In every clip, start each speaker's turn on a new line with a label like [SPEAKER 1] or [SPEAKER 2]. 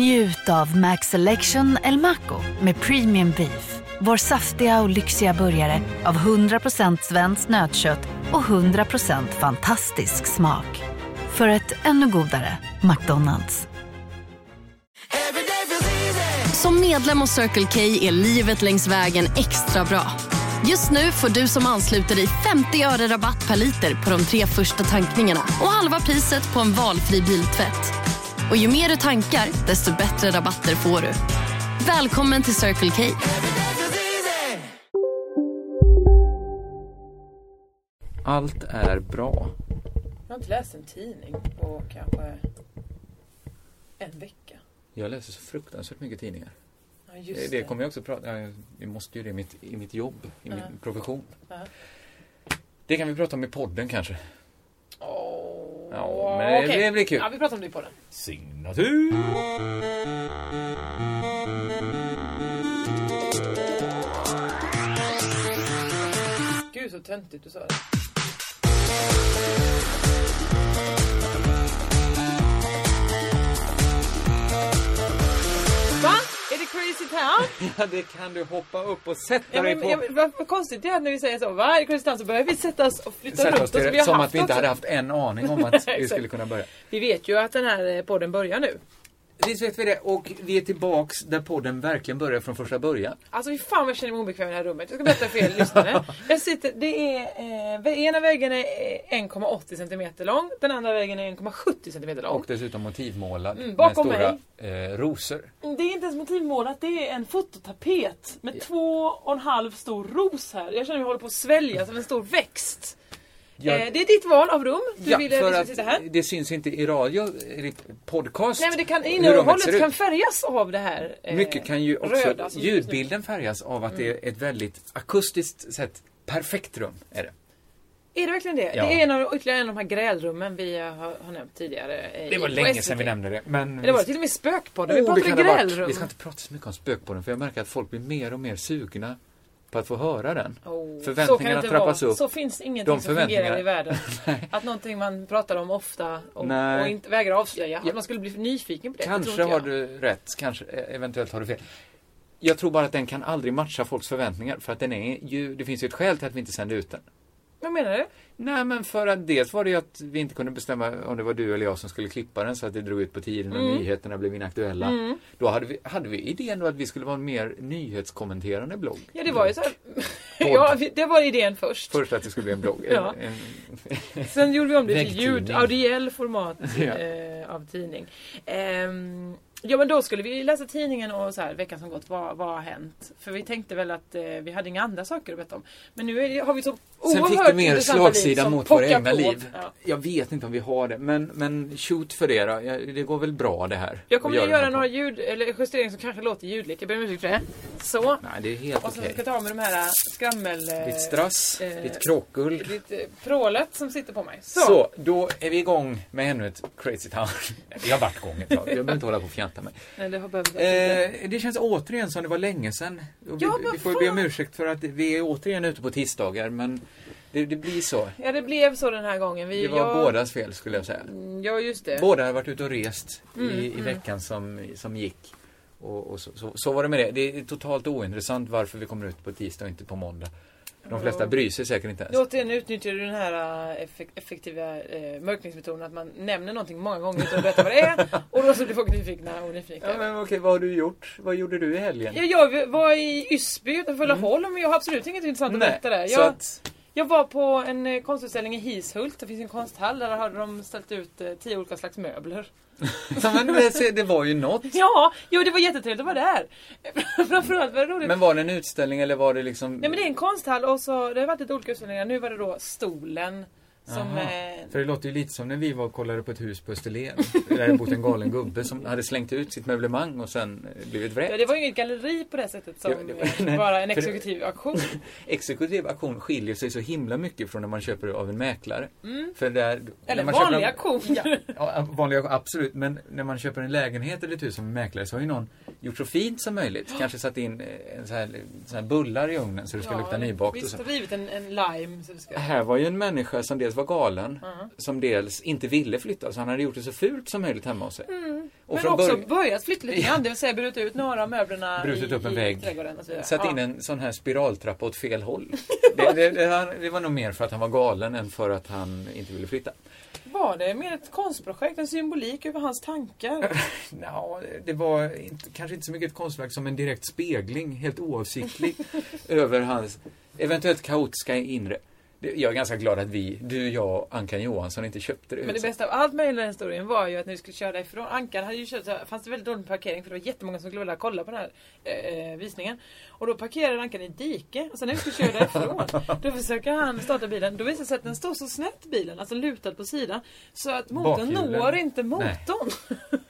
[SPEAKER 1] Njut av Max Selection El Maco med Premium Beef. Vår saftiga och lyxiga burgare av 100% svenskt nötkött och 100% fantastisk smak. För ett ännu godare McDonalds.
[SPEAKER 2] Som medlem hos Circle K är livet längs vägen extra bra. Just nu får du som ansluter dig 50 öre rabatt per liter på de tre första tankningarna och halva priset på en valfri biltvätt. Och ju mer du tankar, desto bättre rabatter får du. Välkommen till Circle K.
[SPEAKER 3] Allt är bra.
[SPEAKER 4] Jag har inte läst en tidning på kanske en vecka.
[SPEAKER 3] Jag läser så fruktansvärt mycket tidningar.
[SPEAKER 4] Ja,
[SPEAKER 3] Det,
[SPEAKER 4] just
[SPEAKER 3] det kommer jag också prata ja, Vi måste ju det i mitt, i mitt jobb, i min profession.
[SPEAKER 4] Ja.
[SPEAKER 3] Det kan vi prata om i podden kanske.
[SPEAKER 4] Åh,
[SPEAKER 3] Ja, men det-
[SPEAKER 4] okej.
[SPEAKER 3] det blir kul.
[SPEAKER 4] Ja, vi pratar om det i podden.
[SPEAKER 3] Signatur!
[SPEAKER 4] Gud så töntigt du sa det. Va? Är det crazy town?
[SPEAKER 3] Ja, det kan du hoppa upp och sätta
[SPEAKER 4] Ja,
[SPEAKER 3] dig
[SPEAKER 4] men,
[SPEAKER 3] på.
[SPEAKER 4] ja, men vad vad konstigt det är när vi säger så. Va? Är det crazy town? Så börjar vi sätta oss och flytta
[SPEAKER 3] Sätta
[SPEAKER 4] runt
[SPEAKER 3] oss till
[SPEAKER 4] som
[SPEAKER 3] det,
[SPEAKER 4] vi har
[SPEAKER 3] som
[SPEAKER 4] haft
[SPEAKER 3] att vi inte
[SPEAKER 4] också.
[SPEAKER 3] hade haft en aning om att vi
[SPEAKER 4] Exakt.
[SPEAKER 3] skulle kunna börja.
[SPEAKER 4] Vi vet ju att den här eh, podden börjar nu.
[SPEAKER 3] Visst vet vi det och vi är tillbaks där podden verkligen börjar från första början.
[SPEAKER 4] Alltså fy fan vad jag känner mig obekväm i det här rummet. Jag ska berätta för er lyssnare. Jag sitter, det är, eh, ena väggen är eh, 1,80 cm lång. Den andra väggen är 1,70 cm lång.
[SPEAKER 3] Och dessutom motivmålad
[SPEAKER 4] Mm, bakom
[SPEAKER 3] med stora eh, rosor.
[SPEAKER 4] Det är inte ens motivmålat, det är en fototapet med två och en halv stor ros här. Jag känner mig håller på att svälja som en stor växt.
[SPEAKER 3] Jag-
[SPEAKER 4] Eh, det är ditt val av rum. Du
[SPEAKER 3] Ja,
[SPEAKER 4] ville att vi
[SPEAKER 3] för
[SPEAKER 4] skulle
[SPEAKER 3] att
[SPEAKER 4] sitta här.
[SPEAKER 3] det syns inte i radio, i ditt podcast.
[SPEAKER 4] Nej men det kan,
[SPEAKER 3] hur rummet ser
[SPEAKER 4] innehållet
[SPEAKER 3] ut.
[SPEAKER 4] kan färgas av det här. eh,
[SPEAKER 3] Mycket kan ju också,
[SPEAKER 4] röda som just nu. Mm.
[SPEAKER 3] ljudbilden färgas av att det är ett väldigt akustiskt sett perfekt rum. Är det.
[SPEAKER 4] Är det verkligen det?
[SPEAKER 3] Ja.
[SPEAKER 4] Det är en av, ytterligare en av de här grälrummen vi har, har nämnt tidigare. eh,
[SPEAKER 3] det var
[SPEAKER 4] på
[SPEAKER 3] länge
[SPEAKER 4] SVT.
[SPEAKER 3] sedan vi nämnde det. Men
[SPEAKER 4] Det var till och med spökpodden.
[SPEAKER 3] Åh,
[SPEAKER 4] vi
[SPEAKER 3] Oh, det kan
[SPEAKER 4] pratade
[SPEAKER 3] det ha varit.
[SPEAKER 4] grälrum.
[SPEAKER 3] Vi ska inte prata så mycket om spökpodden för jag märker att folk blir mer och mer sugna på att få höra den.
[SPEAKER 4] Åh, Oh, så kan det
[SPEAKER 3] Förväntningarna
[SPEAKER 4] inte
[SPEAKER 3] trappas
[SPEAKER 4] vara.
[SPEAKER 3] upp.
[SPEAKER 4] Så finns ingenting
[SPEAKER 3] De
[SPEAKER 4] som fungerar
[SPEAKER 3] förväntningarna-
[SPEAKER 4] i världen. att någonting man pratar om ofta och,
[SPEAKER 3] Nej.
[SPEAKER 4] och inte, vägrar avslöja. Att man skulle bli nyfiken på det. det. tror
[SPEAKER 3] Kanske
[SPEAKER 4] inte jag.
[SPEAKER 3] har du rätt, kanske, eh, eventuellt har du fel. Jag tror bara att den kan aldrig matcha folks förväntningar för att den är ju, det finns ju ett skäl till att vi inte sände ut den.
[SPEAKER 4] Vad menar du?
[SPEAKER 3] Nej men för att dels var det ju att vi inte kunde bestämma om det var du eller jag som skulle klippa den så att det drog ut på tiden och
[SPEAKER 4] Mm.
[SPEAKER 3] nyheterna blev inaktuella. Då hade vi, hade vi idén då att vi skulle vara en mer nyhetskommenterande blogg.
[SPEAKER 4] Ja, det var ju så här. ja, vi- det var idén först.
[SPEAKER 3] Först att det skulle bli en blogg.
[SPEAKER 4] Ja.
[SPEAKER 3] en, en,
[SPEAKER 4] Sen gjorde vi om det till
[SPEAKER 3] Väggtidning.
[SPEAKER 4] ljud, audiell format
[SPEAKER 3] Ja.
[SPEAKER 4] eh, av tidning. Ehm, ja men då skulle vi läsa tidningen och så här, veckan som gått, vad, vad har hänt? För vi tänkte väl att eh, vi hade inga andra saker att berätta om. Men nu är, det- har vi så
[SPEAKER 3] Sen
[SPEAKER 4] oerhört
[SPEAKER 3] fick det mer
[SPEAKER 4] intressanta liv
[SPEAKER 3] slagsida
[SPEAKER 4] som
[SPEAKER 3] mot våra
[SPEAKER 4] pockar
[SPEAKER 3] egna
[SPEAKER 4] på.
[SPEAKER 3] liv.
[SPEAKER 4] Ja.
[SPEAKER 3] Jag vet inte om vi har det, men, men shoot för det då. Ja, Det går väl bra det här?
[SPEAKER 4] Jag kommer
[SPEAKER 3] Vi
[SPEAKER 4] att
[SPEAKER 3] gör
[SPEAKER 4] göra
[SPEAKER 3] den här
[SPEAKER 4] några
[SPEAKER 3] podden.
[SPEAKER 4] ljud, eller justeringar som kanske låter ljudligt. Jag ber om ursäkt för det. Så.
[SPEAKER 3] Nej, det är helt
[SPEAKER 4] Och sen
[SPEAKER 3] okej.
[SPEAKER 4] ska jag ta med de här skrammel... eh,
[SPEAKER 3] Ditt strass,
[SPEAKER 4] eh,
[SPEAKER 3] ditt krockull.
[SPEAKER 4] Ditt eh, prålet som sitter på mig. Så.
[SPEAKER 3] Så. då är vi igång med ännu ett Crazy Town. Jag har varit igång ett tag, jag behöver inte hålla på och fjanta mig.
[SPEAKER 4] Nej, det har behövt
[SPEAKER 3] Eh, det känns återigen som det var länge sedan. Och
[SPEAKER 4] Ja,
[SPEAKER 3] vi,
[SPEAKER 4] vad
[SPEAKER 3] vi får ju
[SPEAKER 4] fan.
[SPEAKER 3] be om ursäkt för att vi är återigen ute på tisdagar, men det, det blir så.
[SPEAKER 4] Ja, det blev så den här gången. Vi,
[SPEAKER 3] Det var
[SPEAKER 4] jag,
[SPEAKER 3] bådas fel skulle jag säga.
[SPEAKER 4] Ja, Mm, just det.
[SPEAKER 3] Båda har varit ute och rest i, i veckan som, som gick. Och, och så, så, så var det med det. Det är totalt ointressant varför vi kommer ut på tisdag och inte på måndag. De flesta bryr sig säkert inte ens.
[SPEAKER 4] Återigen utnyttjar du den här eh, effek- effektiva eh, mörkningsmetoden att man nämner någonting många gånger utan att berätta vad det är och då så blir folk nyfikna och nyfikna.
[SPEAKER 3] Ja, men okej, vad har du gjort? Vad gjorde du i helgen?
[SPEAKER 4] Ja, jag var i Ysby utanför Laholm men jag har absolut inget intressant att berätta där.
[SPEAKER 3] Mm. så
[SPEAKER 4] Jag,
[SPEAKER 3] att,
[SPEAKER 4] jag var på en eh, konstutställning i Hishult, det finns en konsthall där hade de ställt ut eh, tio olika slags möbler.
[SPEAKER 3] Ja, men det, se, det var ju något.
[SPEAKER 4] Ja, jo det var jättetrevligt att vara där. Framförallt var det roligt.
[SPEAKER 3] Men var det en utställning eller var det liksom...
[SPEAKER 4] Nej men det är en konsthall och så det har varit lite olika utställningar. Nu var det då stolen som...
[SPEAKER 3] Jaha.
[SPEAKER 4] Eh,
[SPEAKER 3] För det låter ju lite som när vi var och kollade på ett hus på Österlen. Där det bott en galen gubbe som hade slängt ut sitt möblemang och sen eh, blivit
[SPEAKER 4] Ja,
[SPEAKER 3] vräkt.
[SPEAKER 4] det var ju inget galleri på det sättet som
[SPEAKER 3] Ja, det var-
[SPEAKER 4] eh,
[SPEAKER 3] nej,
[SPEAKER 4] bara en
[SPEAKER 3] för det-
[SPEAKER 4] exekutiv auktion.
[SPEAKER 3] Exekutiv auktion skiljer sig så himla mycket från när man köper av en mäklare. För där,
[SPEAKER 4] Mm. Eller
[SPEAKER 3] när man
[SPEAKER 4] vanlig
[SPEAKER 3] köper-
[SPEAKER 4] auktion.
[SPEAKER 3] Ja, vanlig auktion, absolut. Men när man köper en lägenhet eller ett hus som en mäklare så har ju någon gjort så fint som möjligt. Kanske satt in eh, en så här, så här bullar i ugnen så det ska lukta nybakt. och
[SPEAKER 4] Visst
[SPEAKER 3] så.
[SPEAKER 4] har rivit en, en lime. Så det ska...
[SPEAKER 3] Här var ju en människa som dels var galen, som dels inte ville flytta. Så han hade gjort det så fult som möjligt hemma hos sig. Och
[SPEAKER 4] Mm. Men
[SPEAKER 3] från
[SPEAKER 4] också
[SPEAKER 3] början-
[SPEAKER 4] börjat flytta lite grann, det vill säga brutit ut några av möblerna
[SPEAKER 3] brutit
[SPEAKER 4] i,
[SPEAKER 3] upp en
[SPEAKER 4] i
[SPEAKER 3] vägg.
[SPEAKER 4] trädgården. Och så vidare.
[SPEAKER 3] Satt in
[SPEAKER 4] Ja.
[SPEAKER 3] en sån här spiraltrappa åt fel håll. Det, det, det, han- det var nog mer för att han var galen än för att han inte ville flytta.
[SPEAKER 4] Var det mer ett konstprojekt, en symbolik över hans tankar?
[SPEAKER 3] Nå, det var inte, kanske inte så mycket ett konstverk som en direkt spegling, helt oavsiktlig, över hans eventuellt kaotiska inre. Det- Jag är ganska glad att vi, du, jag, Ankan Johansson, inte köpte det.
[SPEAKER 4] Men det bästa av allt med hela den historien var ju att när vi skulle köra ifrån Ankan hade ju kört, så här- fanns det väldigt dålig parkering för det var jättemånga som skulle vilja kolla på den här eh, eh, visningen. Och då parkerade Ankan i ett dike och sen när vi skulle köra därifrån då försöker han starta bilen. Då visar det sig att den står så snett bilen, alltså lutad på sidan. Så att motorn
[SPEAKER 3] Bakhjulen.
[SPEAKER 4] når inte motorn. Eller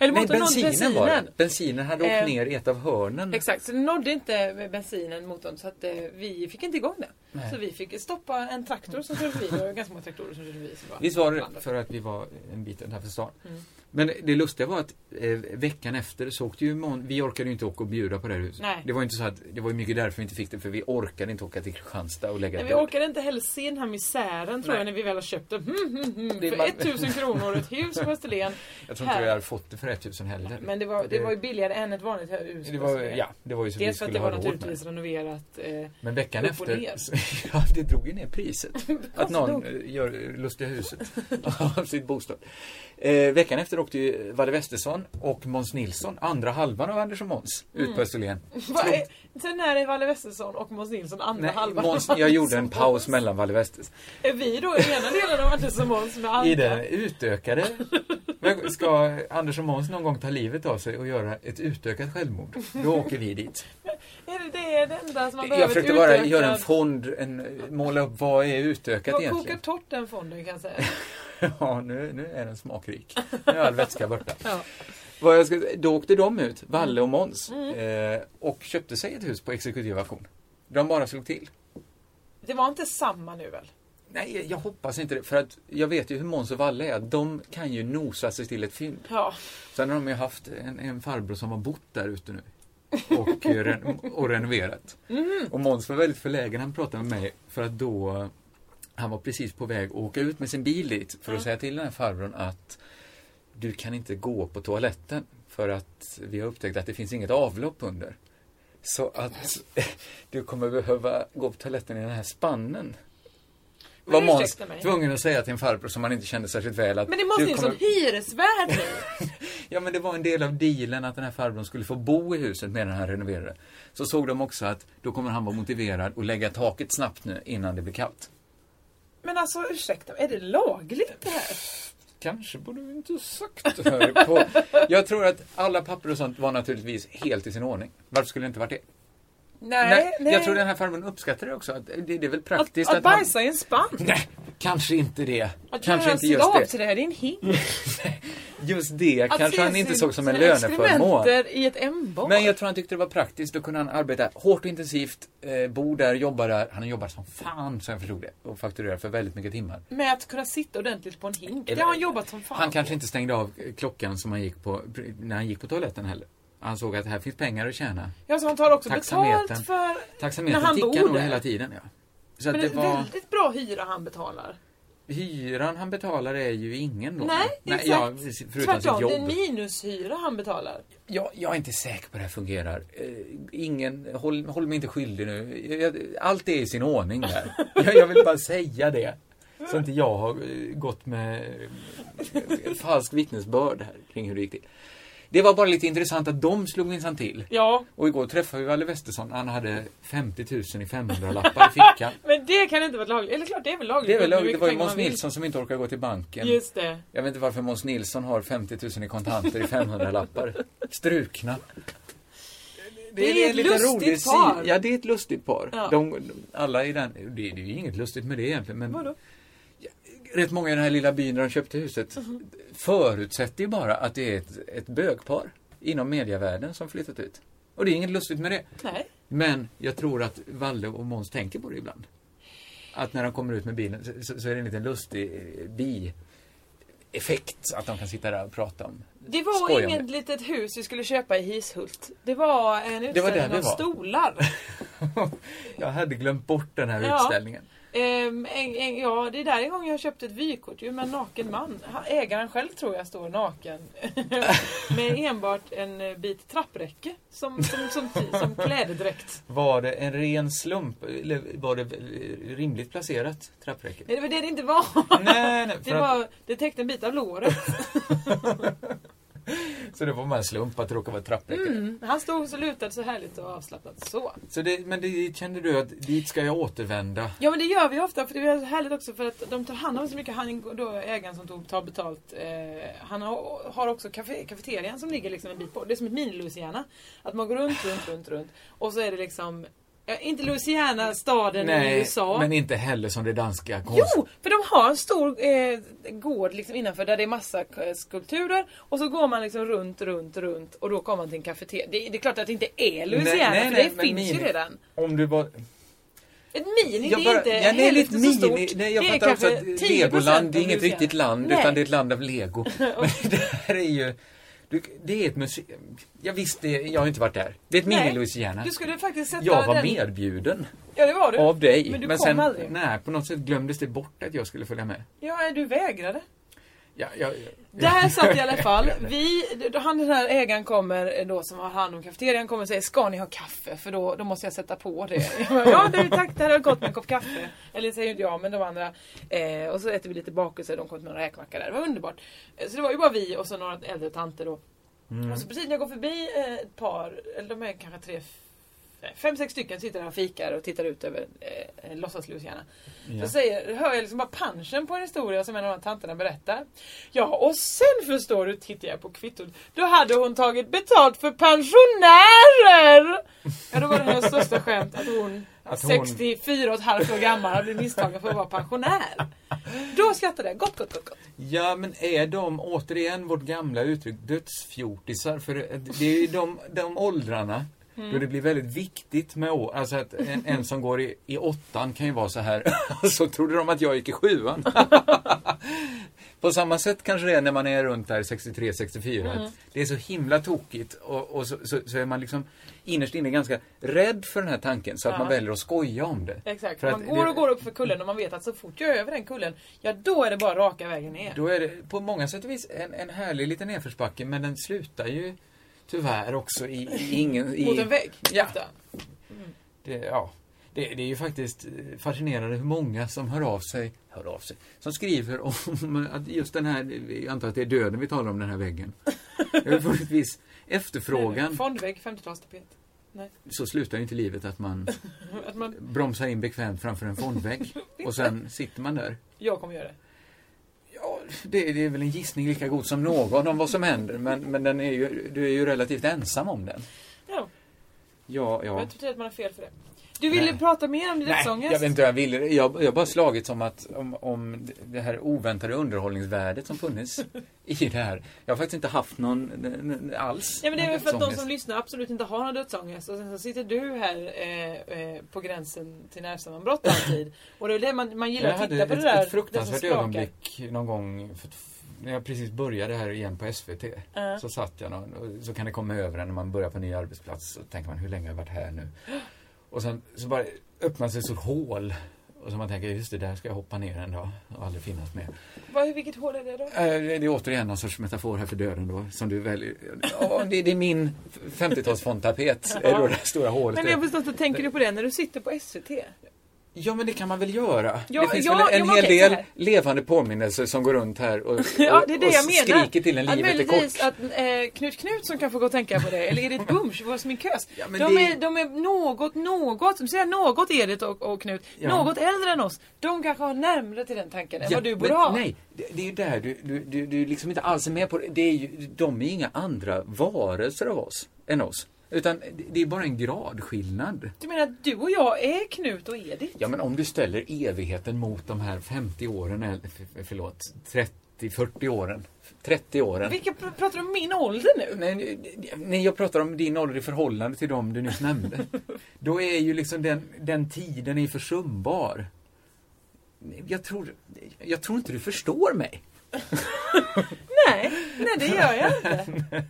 [SPEAKER 3] Nej,
[SPEAKER 4] motorn nådde
[SPEAKER 3] bensinen, var det.
[SPEAKER 4] bensinen.
[SPEAKER 3] Bensinen hade åkt
[SPEAKER 4] Eh,
[SPEAKER 3] ner i ett av hörnen.
[SPEAKER 4] Exakt, så den nådde inte med bensinen motorn så att eh, vi fick inte igång den.
[SPEAKER 3] Nej.
[SPEAKER 4] Så vi fick stoppa en traktor som körde förbi. Det var ganska många traktorer som körde förbi. som var
[SPEAKER 3] Visst var det
[SPEAKER 4] blandade.
[SPEAKER 3] för att vi var en bit utanför stan.
[SPEAKER 4] Mm.
[SPEAKER 3] Men det lustiga var att eh, veckan efter så åkte ju Mon- Vi orkade ju inte åka och bjuda på det här huset.
[SPEAKER 4] Nej.
[SPEAKER 3] Det var ju inte så att, det var ju mycket därför vi inte fick det, för vi orkade inte åka till Kristianstad och lägga
[SPEAKER 4] Nej,
[SPEAKER 3] ett
[SPEAKER 4] vi
[SPEAKER 3] bud.
[SPEAKER 4] orkade inte heller se den här misären tror
[SPEAKER 3] Nej.
[SPEAKER 4] jag när vi väl har köpt den. Mm, mm, mm,
[SPEAKER 3] Det är
[SPEAKER 4] för
[SPEAKER 3] bara-
[SPEAKER 4] 1000 kronor ett hus på Österlen.
[SPEAKER 3] Jag tror inte
[SPEAKER 4] Här.
[SPEAKER 3] vi hade fått det för 1000 heller.
[SPEAKER 4] Men det var, det
[SPEAKER 3] Det-
[SPEAKER 4] var ju billigare än ett vanligt hus.
[SPEAKER 3] Det
[SPEAKER 4] på
[SPEAKER 3] var,
[SPEAKER 4] Österlen.
[SPEAKER 3] ja, det var ju så vi
[SPEAKER 4] Dels för att
[SPEAKER 3] skulle
[SPEAKER 4] det var
[SPEAKER 3] ha råd med.
[SPEAKER 4] naturligtvis renoverat. Eh,
[SPEAKER 3] Men veckan
[SPEAKER 4] upp och
[SPEAKER 3] efter,
[SPEAKER 4] ner.
[SPEAKER 3] ja, det drog ju ner priset. att någon eh, gör lustiga huset av sitt bostad. Eh, veckan efter åkte ju Valle Westesson och Måns Nilsson, andra halvan av Anders och Måns,
[SPEAKER 4] Mm.
[SPEAKER 3] ut på Österlen.
[SPEAKER 4] vad är, sen är det Valle Westesson och Måns Nilsson andra
[SPEAKER 3] Nej,
[SPEAKER 4] halvan.
[SPEAKER 3] Måns, jag gjorde en paus mellan Valle Westes.
[SPEAKER 4] Är vi då i ena delen av Anders och Måns med andra?
[SPEAKER 3] I det utökade. Men ska Anders och Måns någon gång ta livet av sig och göra ett utökat självmord, då åker vi dit.
[SPEAKER 4] Är det, det är det enda som man behöver
[SPEAKER 3] Jag försökte bara
[SPEAKER 4] utökad-
[SPEAKER 3] göra en fond, en, måla upp vad är utökat
[SPEAKER 4] Jag kokar
[SPEAKER 3] egentligen.
[SPEAKER 4] torrt den fonden kan jag säga.
[SPEAKER 3] Ja, nu, nu är den smakrik. Nu är all vätska borta.
[SPEAKER 4] Ja.
[SPEAKER 3] Vad jag ska, då åkte de ut, Valle och Måns,
[SPEAKER 4] Mm.
[SPEAKER 3] eh, och köpte sig ett hus på exekutiv auktion. De bara slog till.
[SPEAKER 4] Det var inte samma nu väl?
[SPEAKER 3] Nej, jag hoppas inte det. För att jag vet ju hur Måns och Valle är. De kan ju nosa sig till ett fynd.
[SPEAKER 4] Ja.
[SPEAKER 3] Sen har de ju haft en, en farbror som har bott där ute nu. Och, eh, ren, och renoverat.
[SPEAKER 4] Mhm.
[SPEAKER 3] Och Måns var väldigt förlägen. Han pratade med mig för att då eh, han var precis på väg att åka ut med sin bil dit för att säga till den här farbrorn att du kan inte gå på toaletten för att vi har upptäckt att det finns inget avlopp under. Så att du kommer behöva gå på toaletten i den här spannen.
[SPEAKER 4] Men
[SPEAKER 3] Var Måns
[SPEAKER 4] ursäkta mig.
[SPEAKER 3] tvungen att säga till en farbror som han inte kände särskilt väl att
[SPEAKER 4] Men det är Måns
[SPEAKER 3] du
[SPEAKER 4] Nilsson,
[SPEAKER 3] kommer...
[SPEAKER 4] hyresvärd nu!
[SPEAKER 3] Ja, men det var en del av dealen att den här farbrorn skulle få bo i huset medan han renoverade. Så såg de också att då kommer han vara motiverad och lägga taket snabbt nu innan det blir kallt.
[SPEAKER 4] Men alltså ursäkta mig, är det lagligt det här?
[SPEAKER 3] Kanske borde vi inte ha sagt det här på... Jag tror att alla papper och sånt var naturligtvis helt i sin ordning. Varför skulle det inte varit det? Jag tror den här farbrorn uppskattade det också. Att det, det är väl
[SPEAKER 4] att,
[SPEAKER 3] praktiskt
[SPEAKER 4] att bajsa i en spann?
[SPEAKER 3] han... Nej, kanske inte det.
[SPEAKER 4] Att
[SPEAKER 3] kanske
[SPEAKER 4] göra
[SPEAKER 3] inte
[SPEAKER 4] en
[SPEAKER 3] just
[SPEAKER 4] slav
[SPEAKER 3] det.
[SPEAKER 4] till det här, det är en hink.
[SPEAKER 3] Just det
[SPEAKER 4] Att
[SPEAKER 3] kanske
[SPEAKER 4] se
[SPEAKER 3] han inte
[SPEAKER 4] sin-
[SPEAKER 3] såg som en
[SPEAKER 4] sina
[SPEAKER 3] löneförmån.
[SPEAKER 4] exkrementer i ett M-bar.
[SPEAKER 3] Men jag tror han tyckte det var praktiskt. Då kunde han arbeta hårt och intensivt, eh, bo där, jobba där. Han har jobbat som fan, så jag förstod det. Och fakturerat för väldigt mycket timmar.
[SPEAKER 4] Med att kunna sitta ordentligt på en hink. Det har han jobbat som fan
[SPEAKER 3] Han kanske inte stängde av eh, klockan som han gick på, pr- när han gick på toaletten heller. Han såg att här finns pengar att tjäna.
[SPEAKER 4] Ja, så han tar också
[SPEAKER 3] Taxametern.
[SPEAKER 4] betalt för... När
[SPEAKER 3] Taxametern
[SPEAKER 4] han
[SPEAKER 3] tickar
[SPEAKER 4] bor
[SPEAKER 3] nog
[SPEAKER 4] där.
[SPEAKER 3] hela tiden. Ja. Så att
[SPEAKER 4] Men
[SPEAKER 3] det
[SPEAKER 4] det är
[SPEAKER 3] var,
[SPEAKER 4] väldigt bra hyra han betalar.
[SPEAKER 3] hyran han betalar är ju ingen då.
[SPEAKER 4] Nej, exakt.
[SPEAKER 3] ja, förutom sitt
[SPEAKER 4] Tvärtom, det är
[SPEAKER 3] jobb.
[SPEAKER 4] minushyra han betalar.
[SPEAKER 3] Jag, jag är inte säker på hur det här fungerar. Eh, ingen, håll, håll mig inte skyldig nu. Jag- Jag, allt är i sin ordning där. Jag, jag vill bara säga det. Så inte jag har eh, gått med eh, falsk vittnesbörd här kring hur det gick till. Det var bara lite intressant att de slog minsann till.
[SPEAKER 4] Ja,
[SPEAKER 3] Och igår träffade vi Valle Westesson. Han hade 50 000 i 500-lappar i fickan.
[SPEAKER 4] men det kan inte vara lagligt. Eller klart, det är väl lagligt.
[SPEAKER 3] Det, är väl,
[SPEAKER 4] Hur
[SPEAKER 3] det
[SPEAKER 4] mycket
[SPEAKER 3] var ju
[SPEAKER 4] pengar
[SPEAKER 3] Måns
[SPEAKER 4] man vill.
[SPEAKER 3] Nilsson som inte orkade gå till banken.
[SPEAKER 4] Just det.
[SPEAKER 3] Jag vet inte varför Måns Nilsson har 50 000 i kontanter i 500-lappar. Strukna.
[SPEAKER 4] Det är ett lustigt
[SPEAKER 3] si-
[SPEAKER 4] par.
[SPEAKER 3] Ja, det är ett lustigt par.
[SPEAKER 4] Ja.
[SPEAKER 3] De, de- alla i den... Det, det är ju inget lustigt med det egentligen. Men
[SPEAKER 4] Vadå?
[SPEAKER 3] Ja, Rätt många i den här lilla byn där de köpte huset
[SPEAKER 4] Mhm.
[SPEAKER 3] förutsätter ju bara att det är ett, ett bögpar inom medievärlden som flyttat ut. Och det är inget lustigt med det.
[SPEAKER 4] Nej.
[SPEAKER 3] Men jag tror att Valle och Måns tänker på det ibland. Att när de kommer ut med bilen så- så, så är det en liten lustig eh, bieffekt att de kan sitta där och prata om.
[SPEAKER 4] Det var
[SPEAKER 3] Skoja om
[SPEAKER 4] inget litet hus vi skulle köpa i Hishult. Det var en
[SPEAKER 3] Det var där
[SPEAKER 4] utställning
[SPEAKER 3] vi
[SPEAKER 4] av
[SPEAKER 3] var.
[SPEAKER 4] stolar.
[SPEAKER 3] jag hade glömt bort den här
[SPEAKER 4] Ja.
[SPEAKER 3] utställningen.
[SPEAKER 4] Ehm, en, en, ja, det är där en gång jag köpte ett vykort ju, med en naken man. Ha- Ägaren själv tror jag står naken. med enbart en eh, bit trappräcke som, som, som, som, som klädedräkt.
[SPEAKER 3] Var det en ren slump? Eller var det eh, rimligt placerat trappräcket?
[SPEAKER 4] Nej, det var det det inte var.
[SPEAKER 3] nej, nej.
[SPEAKER 4] Det,
[SPEAKER 3] För att,
[SPEAKER 4] var, det täckte en bit av låret.
[SPEAKER 3] så det var bara en slump att det råkade vara ett trappräcke.
[SPEAKER 4] Mm. Han stod så lutad så härligt och avslappnat så.
[SPEAKER 3] Så det, men det kände du att dit ska jag återvända?
[SPEAKER 4] Ja men det gör vi ofta för det är härligt också för att de tar hand om så mycket. Han då ägaren som tog, tar betalt. Eh, han har, har också kafe, kafeterian som ligger liksom en bit på. Det är som ett mini Louisiana. Att man går runt, runt, runt, runt. Och så är det liksom ja, inte Louisiana staden i USA.
[SPEAKER 3] men inte heller som det danska konst...
[SPEAKER 4] Jo! För de har en stor eh, gård liksom innanför där det är massa eh, skulpturer. Och så går man liksom runt, runt, runt och då kommer man till en kafeteria. Det, det är klart att det inte är Louisiana
[SPEAKER 3] Nej, nej,
[SPEAKER 4] för
[SPEAKER 3] nej,
[SPEAKER 4] det
[SPEAKER 3] men
[SPEAKER 4] finns ju
[SPEAKER 3] mini-
[SPEAKER 4] redan.
[SPEAKER 3] Om du var...
[SPEAKER 4] Ett mini,
[SPEAKER 3] Jag
[SPEAKER 4] det är
[SPEAKER 3] bara-
[SPEAKER 4] inte
[SPEAKER 3] ja, nej,
[SPEAKER 4] heller
[SPEAKER 3] det är ett
[SPEAKER 4] inte så
[SPEAKER 3] mini.
[SPEAKER 4] stort.
[SPEAKER 3] Nej, jag
[SPEAKER 4] Det är
[SPEAKER 3] fattar också
[SPEAKER 4] kanske
[SPEAKER 3] att
[SPEAKER 4] 10%
[SPEAKER 3] Legoland det är
[SPEAKER 4] av
[SPEAKER 3] inget
[SPEAKER 4] Louisiana.
[SPEAKER 3] riktigt land,
[SPEAKER 4] Nej.
[SPEAKER 3] utan det är ett land av lego. Men det här är ju... Du, det är ett museum. Jag visste, jag har inte varit där. Det är ett
[SPEAKER 4] Nej,
[SPEAKER 3] mini-Louisiana.
[SPEAKER 4] Du skulle faktiskt sätta
[SPEAKER 3] Jag var
[SPEAKER 4] den...
[SPEAKER 3] medbjuden
[SPEAKER 4] Ja, det var du.
[SPEAKER 3] av dig.
[SPEAKER 4] Men du kom aldrig.
[SPEAKER 3] Nej, på något sätt glömdes det bort att jag skulle följa med.
[SPEAKER 4] Ja, du vägrade.
[SPEAKER 3] Ja, jag,
[SPEAKER 4] Där satt i alla fall. Vi, då han den här ägaren kommer eh, då som har hand om kafeterian kommer och säger Ska ni ha kaffe? För då, då måste jag sätta på det. Jag bara, ja du tack, det här har gått med en kopp kaffe. Eller säger inte jag men de andra. Eh, och så äter vi lite bakelser, de kom med några räkmacka där. Det var underbart. Eh, Så det var ju bara vi och så några äldre tanter då.
[SPEAKER 3] Mm.
[SPEAKER 4] Och så precis när jag går förbi eh, ett par, eller de är kanske tre, f- fem, sex stycken sitter där och fikar och tittar ut över eh, låtsas-Louisiana.
[SPEAKER 3] Ja.
[SPEAKER 4] Så säger, hör jag liksom bara punchen på en historia som en av de här tanterna berättar. Ja, och sen förstår du, tittar jag på kvittot, då hade hon tagit betalt för pensionärer! Ja, då var det hennes största skämt att hon,
[SPEAKER 3] Att hon-
[SPEAKER 4] 64 och ett halvt år gammal, hade blivit misstagen för att vara pensionär. Då skrattade jag, gott, gott, gott, gott.
[SPEAKER 3] Ja, men är de, återigen vårt gamla uttryck, dödsfjortisar? För det är ju de, de åldrarna då det blir väldigt viktigt med år. Alltså att en, en som går i, i åttan kan ju vara så här, så trodde de att jag gick i sjuan. På samma sätt kanske det är när man är runt där 63, 64. att Det är så himla tokigt och, och så, så, så är man liksom innerst inne ganska rädd för den här tanken så att
[SPEAKER 4] Ja.
[SPEAKER 3] man väljer att skoja om det.
[SPEAKER 4] Exakt,
[SPEAKER 3] För
[SPEAKER 4] man
[SPEAKER 3] att
[SPEAKER 4] går
[SPEAKER 3] det-
[SPEAKER 4] och går upp för kullen och man vet att så fort jag är över den kullen, ja då är det bara raka vägen ner.
[SPEAKER 3] Då är det på många sätt och vis en, en härlig liten nedförsbacke men den slutar ju tyvärr också i, i ingen... I,
[SPEAKER 4] Mot en vägg.
[SPEAKER 3] Ja.
[SPEAKER 4] ofta.
[SPEAKER 3] det, ja. Det, det är ju faktiskt eh, fascinerande hur många som hör av sig, hör av sig, som skriver om att just den här, jag antar att det är döden vi talar om, den här väggen. Det är på ett vis efterfrågan,
[SPEAKER 4] Eh, Fondvägg, 50-talstapet.
[SPEAKER 3] så slutar ju inte livet att man
[SPEAKER 4] Att man,
[SPEAKER 3] bromsar in bekvämt framför en fondvägg och sen sitter man där.
[SPEAKER 4] jag kommer göra det.
[SPEAKER 3] Ja, det, det är väl en gissning lika god som någon om vad som händer, men, men den är ju, du är ju relativt ensam om den.
[SPEAKER 4] Ja.
[SPEAKER 3] Ja,
[SPEAKER 4] Jag
[SPEAKER 3] ja.
[SPEAKER 4] tror inte att man har fel för det. Du ville
[SPEAKER 3] Nej.
[SPEAKER 4] prata mer om din
[SPEAKER 3] Nej, jag vet
[SPEAKER 4] dödsångest?
[SPEAKER 3] inte hur jag ville. Jag, jag har bara slagit som att om, om det här oväntade underhållningsvärdet som funnits i det här. Jag har faktiskt inte haft någon n- n- alls.
[SPEAKER 4] Ja, men det är väl för att de
[SPEAKER 3] dödsångest.
[SPEAKER 4] som lyssnar absolut inte har någon dödsångest och sen så sitter du här eh, eh, på gränsen till nervsammanbrott alltid. Och det är väl det man, man gillar
[SPEAKER 3] Jag
[SPEAKER 4] att
[SPEAKER 3] hade
[SPEAKER 4] titta
[SPEAKER 3] ett,
[SPEAKER 4] på det där.
[SPEAKER 3] ett fruktansvärt
[SPEAKER 4] det som
[SPEAKER 3] ögonblick någon gång för, när jag precis började här igen på SVT.
[SPEAKER 4] skakar. Ja.
[SPEAKER 3] Så satt jag någon, och så kan det komma över en när man börjar på en ny arbetsplats. Så tänker man, hur länge har jag varit här nu? Och sen så bara öppnar sig ett stort hål. Och så man tänker, just det, där ska jag hoppa ner en dag och aldrig finnas mer.
[SPEAKER 4] Vad, vilket hål är det då?
[SPEAKER 3] Eh, Det är återigen någon sorts metafor här för döden då, som du väljer. Ja, det, det är min 50-talsfondtapet, är då det stora hålet.
[SPEAKER 4] Men jag har förstått att tänker du på det när du sitter på SVT?
[SPEAKER 3] Ja, men det kan man väl göra?
[SPEAKER 4] Ja,
[SPEAKER 3] det finns
[SPEAKER 4] ja,
[SPEAKER 3] väl en,
[SPEAKER 4] ja,
[SPEAKER 3] en
[SPEAKER 4] men
[SPEAKER 3] hel
[SPEAKER 4] okej, så
[SPEAKER 3] del
[SPEAKER 4] här.
[SPEAKER 3] levande påminnelser som går runt här och, och,
[SPEAKER 4] Ja, det är det
[SPEAKER 3] och
[SPEAKER 4] jag menar.
[SPEAKER 3] skriker till en,
[SPEAKER 4] Att
[SPEAKER 3] livet är
[SPEAKER 4] möjligtvis
[SPEAKER 3] kort.
[SPEAKER 4] att eh, Knut Knutsson kan få gå och tänka på det, eller Edith Bunch, vår sminkös.
[SPEAKER 3] Ja,
[SPEAKER 4] de,
[SPEAKER 3] men det-
[SPEAKER 4] är, de är något, något, som säger något Edith och, och Knut,
[SPEAKER 3] Ja.
[SPEAKER 4] något äldre än oss. De kanske har närmare till den tanken än
[SPEAKER 3] Ja,
[SPEAKER 4] vad du
[SPEAKER 3] men
[SPEAKER 4] borde ha.
[SPEAKER 3] Nej, det, det är ju där du, du, du, du liksom inte alls är med på det. det är ju, de är ju inga andra varelser av oss, än oss. Utan det- det är bara en gradskillnad.
[SPEAKER 4] Du menar att du och jag är Knut och Edith?
[SPEAKER 3] Ja, men om du ställer evigheten mot de här 50 åren, eller f- förlåt, 30, 40 åren, 30 åren.
[SPEAKER 4] Vilka, pr- pratar du om min ålder nu?
[SPEAKER 3] Nej, nu- nej, jag pratar om din ålder i förhållande till dem du nyss nämnde. Då är ju liksom den, den tiden är försumbar. Jag tror, jag tror inte du förstår mig.
[SPEAKER 4] Nej. Nej, det gör jag inte.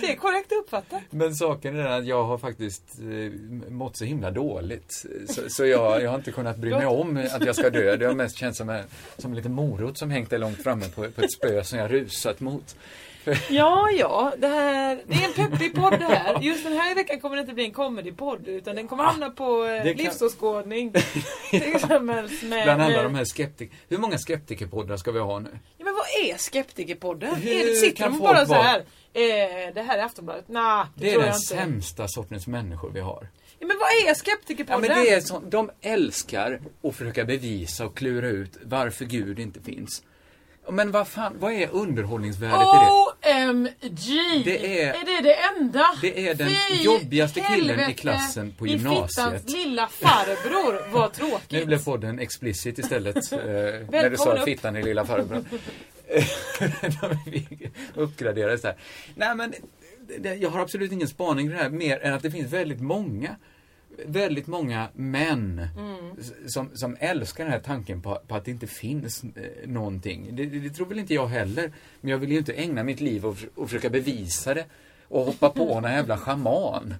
[SPEAKER 4] Det är korrekt uppfattat.
[SPEAKER 3] Men saken är den att jag har faktiskt eh, mått så himla dåligt. Så, så jag, jag har inte kunnat bry mig om att jag ska dö. Det har mest känts som en, som en liten morot som hängt där långt framme på, på ett spö som jag rusat mot.
[SPEAKER 4] Ja, ja, det här det är en peppig podd det här. Just den här veckan kommer det inte bli en comedypodd utan den kommer hamna på eh,
[SPEAKER 3] Ah, Det kan-
[SPEAKER 4] livsåskådning. Till exempel med...
[SPEAKER 3] Bland alla de här skeptik... Hur många skeptikerpoddar ska vi ha nu?
[SPEAKER 4] Ja, men vad är skeptikerpodden?
[SPEAKER 3] Hur
[SPEAKER 4] Är det, sitter
[SPEAKER 3] kan
[SPEAKER 4] de
[SPEAKER 3] folk
[SPEAKER 4] bara så
[SPEAKER 3] vara-
[SPEAKER 4] här? Eh, det här är Aftonbladet? Nej, det,
[SPEAKER 3] Det är
[SPEAKER 4] tror
[SPEAKER 3] den
[SPEAKER 4] jag inte.
[SPEAKER 3] sämsta sortens människor vi har.
[SPEAKER 4] Ja, men vad är
[SPEAKER 3] Ja,
[SPEAKER 4] skeptikerpodden?
[SPEAKER 3] men det är så, de älskar att försöka bevisa och klura ut varför Gud inte finns. Ja, Men vad fan, vad är underhållningsvärdet i det?
[SPEAKER 4] OMG!
[SPEAKER 3] Det är-
[SPEAKER 4] är det det enda?
[SPEAKER 3] Det är den jobbigaste killen i klassen på gymnasiet.
[SPEAKER 4] Min fittans lilla farbror, vad tråkigt.
[SPEAKER 3] Nu blev podden explicit istället. eh, när du
[SPEAKER 4] Välkommen
[SPEAKER 3] sa
[SPEAKER 4] upp.
[SPEAKER 3] fittan i lilla farbror. Vi uppgraderades där. Nej men, det, jag har absolut ingen spaning i det här mer än att det finns väldigt många väldigt många män
[SPEAKER 4] Mm.
[SPEAKER 3] s- som, som älskar den här tanken på, på att det inte finns eh, någonting. Det, det det tror väl inte jag heller. Men jag vill ju inte ägna mitt liv och, förs- och försöka bevisa det och hoppa på någon jävla schaman.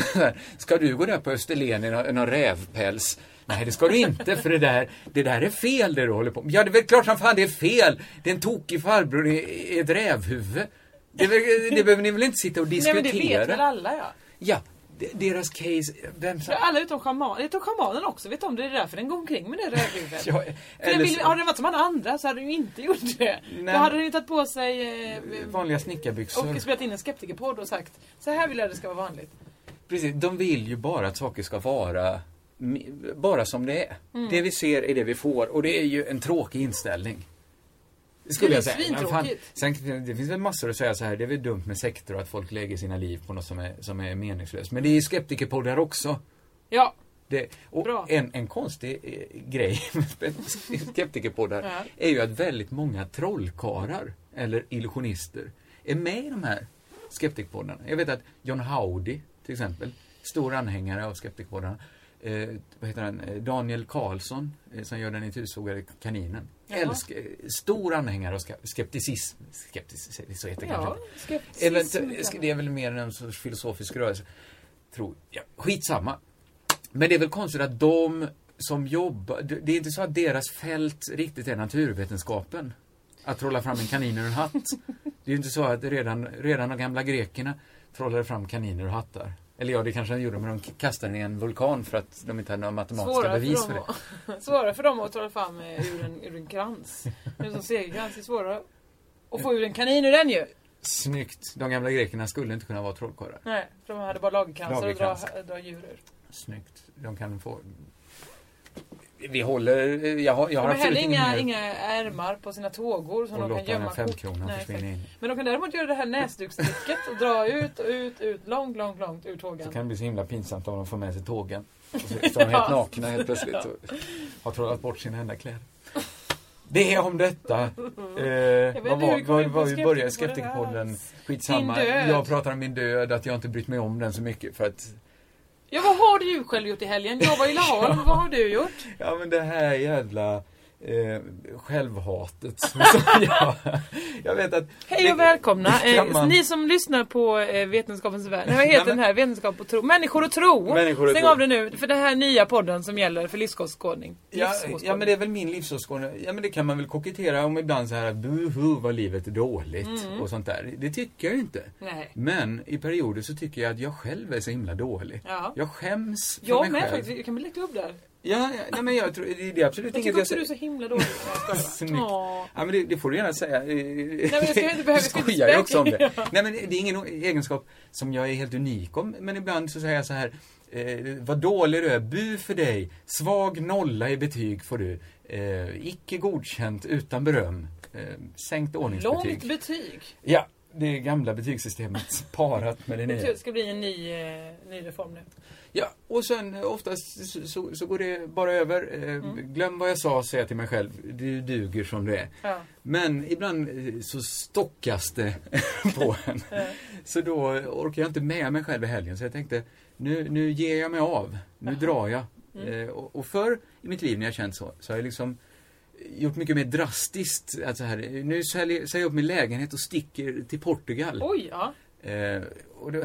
[SPEAKER 3] Ska du gå där på Österlen i någon, någon rävpäls? Nej, det ska du inte, för det där, det där är fel det du håller på med. Ja, det är väl klart som fan det är fel! Det är en tokig farbror i, i ett rävhuvud. Det, är väl- det behöver ni väl inte sitta och
[SPEAKER 4] Nej
[SPEAKER 3] diskutera?
[SPEAKER 4] men det vet väl alla ja.
[SPEAKER 3] Ja, de- deras case, vem
[SPEAKER 4] För
[SPEAKER 3] som...
[SPEAKER 4] alla utom schamanen, utom schamanen också vet om det, det är därför den går omkring med det rödhuvudet.
[SPEAKER 3] Ja,
[SPEAKER 4] För
[SPEAKER 3] eller
[SPEAKER 4] den vill,
[SPEAKER 3] så-
[SPEAKER 4] hade den varit som alla andra så hade den ju inte gjort det. Då
[SPEAKER 3] Nej.
[SPEAKER 4] hade den ju tagit på sig eh,
[SPEAKER 3] Vanliga snickarbyxor.
[SPEAKER 4] och spelat in en skeptikerpodd och sagt så här vill jag det ska vara vanligt.
[SPEAKER 3] Precis, de vill ju bara att saker ska vara mi- bara som det är.
[SPEAKER 4] Mm.
[SPEAKER 3] Det vi ser är det vi får och det är ju en tråkig inställning. Skulle
[SPEAKER 4] Det är
[SPEAKER 3] jag säga. Men fan,
[SPEAKER 4] svintråkigt.
[SPEAKER 3] sen, det finns väl massor att säga så här, det är väl dumt med sektor och att folk lägger sina liv på något som är, som är meningslöst. Men det är ju skeptikerpoddar också.
[SPEAKER 4] Ja,
[SPEAKER 3] Det,
[SPEAKER 4] Bra.
[SPEAKER 3] och en, en konstig eh, grej med skeptikerpoddar
[SPEAKER 4] Ja.
[SPEAKER 3] är ju att väldigt många trollkarlar eller illusionister är med i de här skeptikpoddarna. Jag vet att John Howdy till exempel, stor anhängare av skeptikpoddarna. Eh, vad heter han? Eh, Daniel Karlsson eh, som gör den itudsågade kaninen.
[SPEAKER 4] Jaha.
[SPEAKER 3] Älsk, eh, stor anhängare av skep- skepticism. Skepticism, så heter det kanske
[SPEAKER 4] ja.
[SPEAKER 3] inte.
[SPEAKER 4] skepticism kan
[SPEAKER 3] Eventu-
[SPEAKER 4] man-
[SPEAKER 3] det är väl mer en sorts filosofisk rörelse. Tror jag. Skitsamma. Men det är väl konstigt att de som jobbar, det det är inte så att deras fält riktigt är naturvetenskapen. Att trolla fram en kanin ur en hatt. Det är ju inte så att redan, redan de gamla grekerna trollade fram kaniner ur hattar. Eller ja, det kanske de gjorde, men de kastade den i en vulkan för att de inte hade några matematiska
[SPEAKER 4] Svårare
[SPEAKER 3] bevis för
[SPEAKER 4] för,
[SPEAKER 3] det.
[SPEAKER 4] dem att, svårare för dem att ta fram eh, ur en, ur en krans. Nu som segerkrans är svårare att få ur en kanin ur den ju.
[SPEAKER 3] Snyggt! De gamla grekerna skulle inte kunna vara trollkarlar.
[SPEAKER 4] Nej, för de hade bara lagerkransar och dra,
[SPEAKER 3] Lagerkrans.
[SPEAKER 4] dra djur ur.
[SPEAKER 3] Snyggt. De kan få... Vi håller... Jag har, jag
[SPEAKER 4] De
[SPEAKER 3] har
[SPEAKER 4] har heller
[SPEAKER 3] absolut
[SPEAKER 4] inga,
[SPEAKER 3] ingen...
[SPEAKER 4] inga ärmar på sina tågor som
[SPEAKER 3] Och
[SPEAKER 4] de kan
[SPEAKER 3] låta den
[SPEAKER 4] gömma
[SPEAKER 3] här femkronan
[SPEAKER 4] Nej,
[SPEAKER 3] försvinna
[SPEAKER 4] exakt.
[SPEAKER 3] in.
[SPEAKER 4] Men de kan däremot göra det här näsdukstricket och dra ut och ut, ut, långt, långt, långt ur
[SPEAKER 3] Så
[SPEAKER 4] tågan.
[SPEAKER 3] kan det bli så himla pinsamt om de får med sig tågen. Och så står de helt nakna helt plötsligt och har trollat bort sina enda kläder. Det är om detta. Eh,
[SPEAKER 4] vet
[SPEAKER 3] vad
[SPEAKER 4] inte hur
[SPEAKER 3] var,
[SPEAKER 4] vi kom
[SPEAKER 3] var,
[SPEAKER 4] in på
[SPEAKER 3] var vi började? Skeptikerpodden.
[SPEAKER 4] skeptikerpodden alls.
[SPEAKER 3] Skitsamma.
[SPEAKER 4] Din död.
[SPEAKER 3] Jag pratar om min död, att jag inte brytt mig om den så mycket för att...
[SPEAKER 4] Ja, vad har du själv gjort i helgen? Jag var i Laholm, vad har du gjort?
[SPEAKER 3] Ja men det här jävla... Eh, självhatet som jag... Jag vet att...
[SPEAKER 4] Hej och välkomna!
[SPEAKER 3] Det kan
[SPEAKER 4] Eh,
[SPEAKER 3] man-
[SPEAKER 4] Ni som lyssnar på eh, Vetenskapens värld, nej vad heter
[SPEAKER 3] Nej, men-
[SPEAKER 4] den här? Vetenskap och tro? Människor och tro!
[SPEAKER 3] Människor och
[SPEAKER 4] Stäng
[SPEAKER 3] tro.
[SPEAKER 4] av det nu, för det här är nya podden som gäller för livsåskådning.
[SPEAKER 3] Ja,
[SPEAKER 4] Livsåskådning.
[SPEAKER 3] ja men det är väl min livsåskådning. Ja men det kan man väl kokettera om ibland så här buhu vad livet är dåligt
[SPEAKER 4] Mm.
[SPEAKER 3] och sånt där. Det tycker jag ju inte.
[SPEAKER 4] Nej.
[SPEAKER 3] Men i perioder så tycker jag att jag själv är så himla dålig.
[SPEAKER 4] Ja.
[SPEAKER 3] Jag skäms för
[SPEAKER 4] Jag
[SPEAKER 3] mig
[SPEAKER 4] med
[SPEAKER 3] själv.
[SPEAKER 4] faktiskt, jag kan bli lite upp där.
[SPEAKER 3] Ja, ja, nej men jag tror, det det är absolut
[SPEAKER 4] Jag
[SPEAKER 3] inget
[SPEAKER 4] tycker också du är
[SPEAKER 3] säger.
[SPEAKER 4] så himla dålig. Jag skojar
[SPEAKER 3] Snyggt.
[SPEAKER 4] bara. Åh.
[SPEAKER 3] Ja men det, det får du gärna säga. Nej
[SPEAKER 4] jag ska inte behöva- jag ska inte
[SPEAKER 3] skojar ju
[SPEAKER 4] spöka.
[SPEAKER 3] också om det. Nej men det är ingen o- egenskap som jag är helt unik om, men ibland så säger jag så här Eh, vad dålig du är, bu för dig, svag nolla i betyg får du, eh, icke godkänt utan beröm, eh, sänkt ordningsbetyg.
[SPEAKER 4] Långt betyg.
[SPEAKER 3] Ja, det gamla betygssystemet parat med det nya.
[SPEAKER 4] Det ska bli en ny, eh, ny reform nu.
[SPEAKER 3] Ja, och sen eh, oftast så, så, så går det bara över. Eh,
[SPEAKER 4] Mm.
[SPEAKER 3] Glöm vad jag sa, säger jag till mig själv. Du duger som du är.
[SPEAKER 4] Ja.
[SPEAKER 3] Men ibland eh, så stockas det på en.
[SPEAKER 4] Eh,
[SPEAKER 3] Så då orkar jag inte med mig själv i helgen. Så jag tänkte, nu, nu ger jag mig av. Nu drar jag. Eh, och, och förr i mitt liv när jag känt så, så har jag liksom gjort mycket mer drastiskt. Att så här, nu säljer, säger jag upp min lägenhet och sticker till Portugal.
[SPEAKER 4] Oj, ja.
[SPEAKER 3] Eh, och det,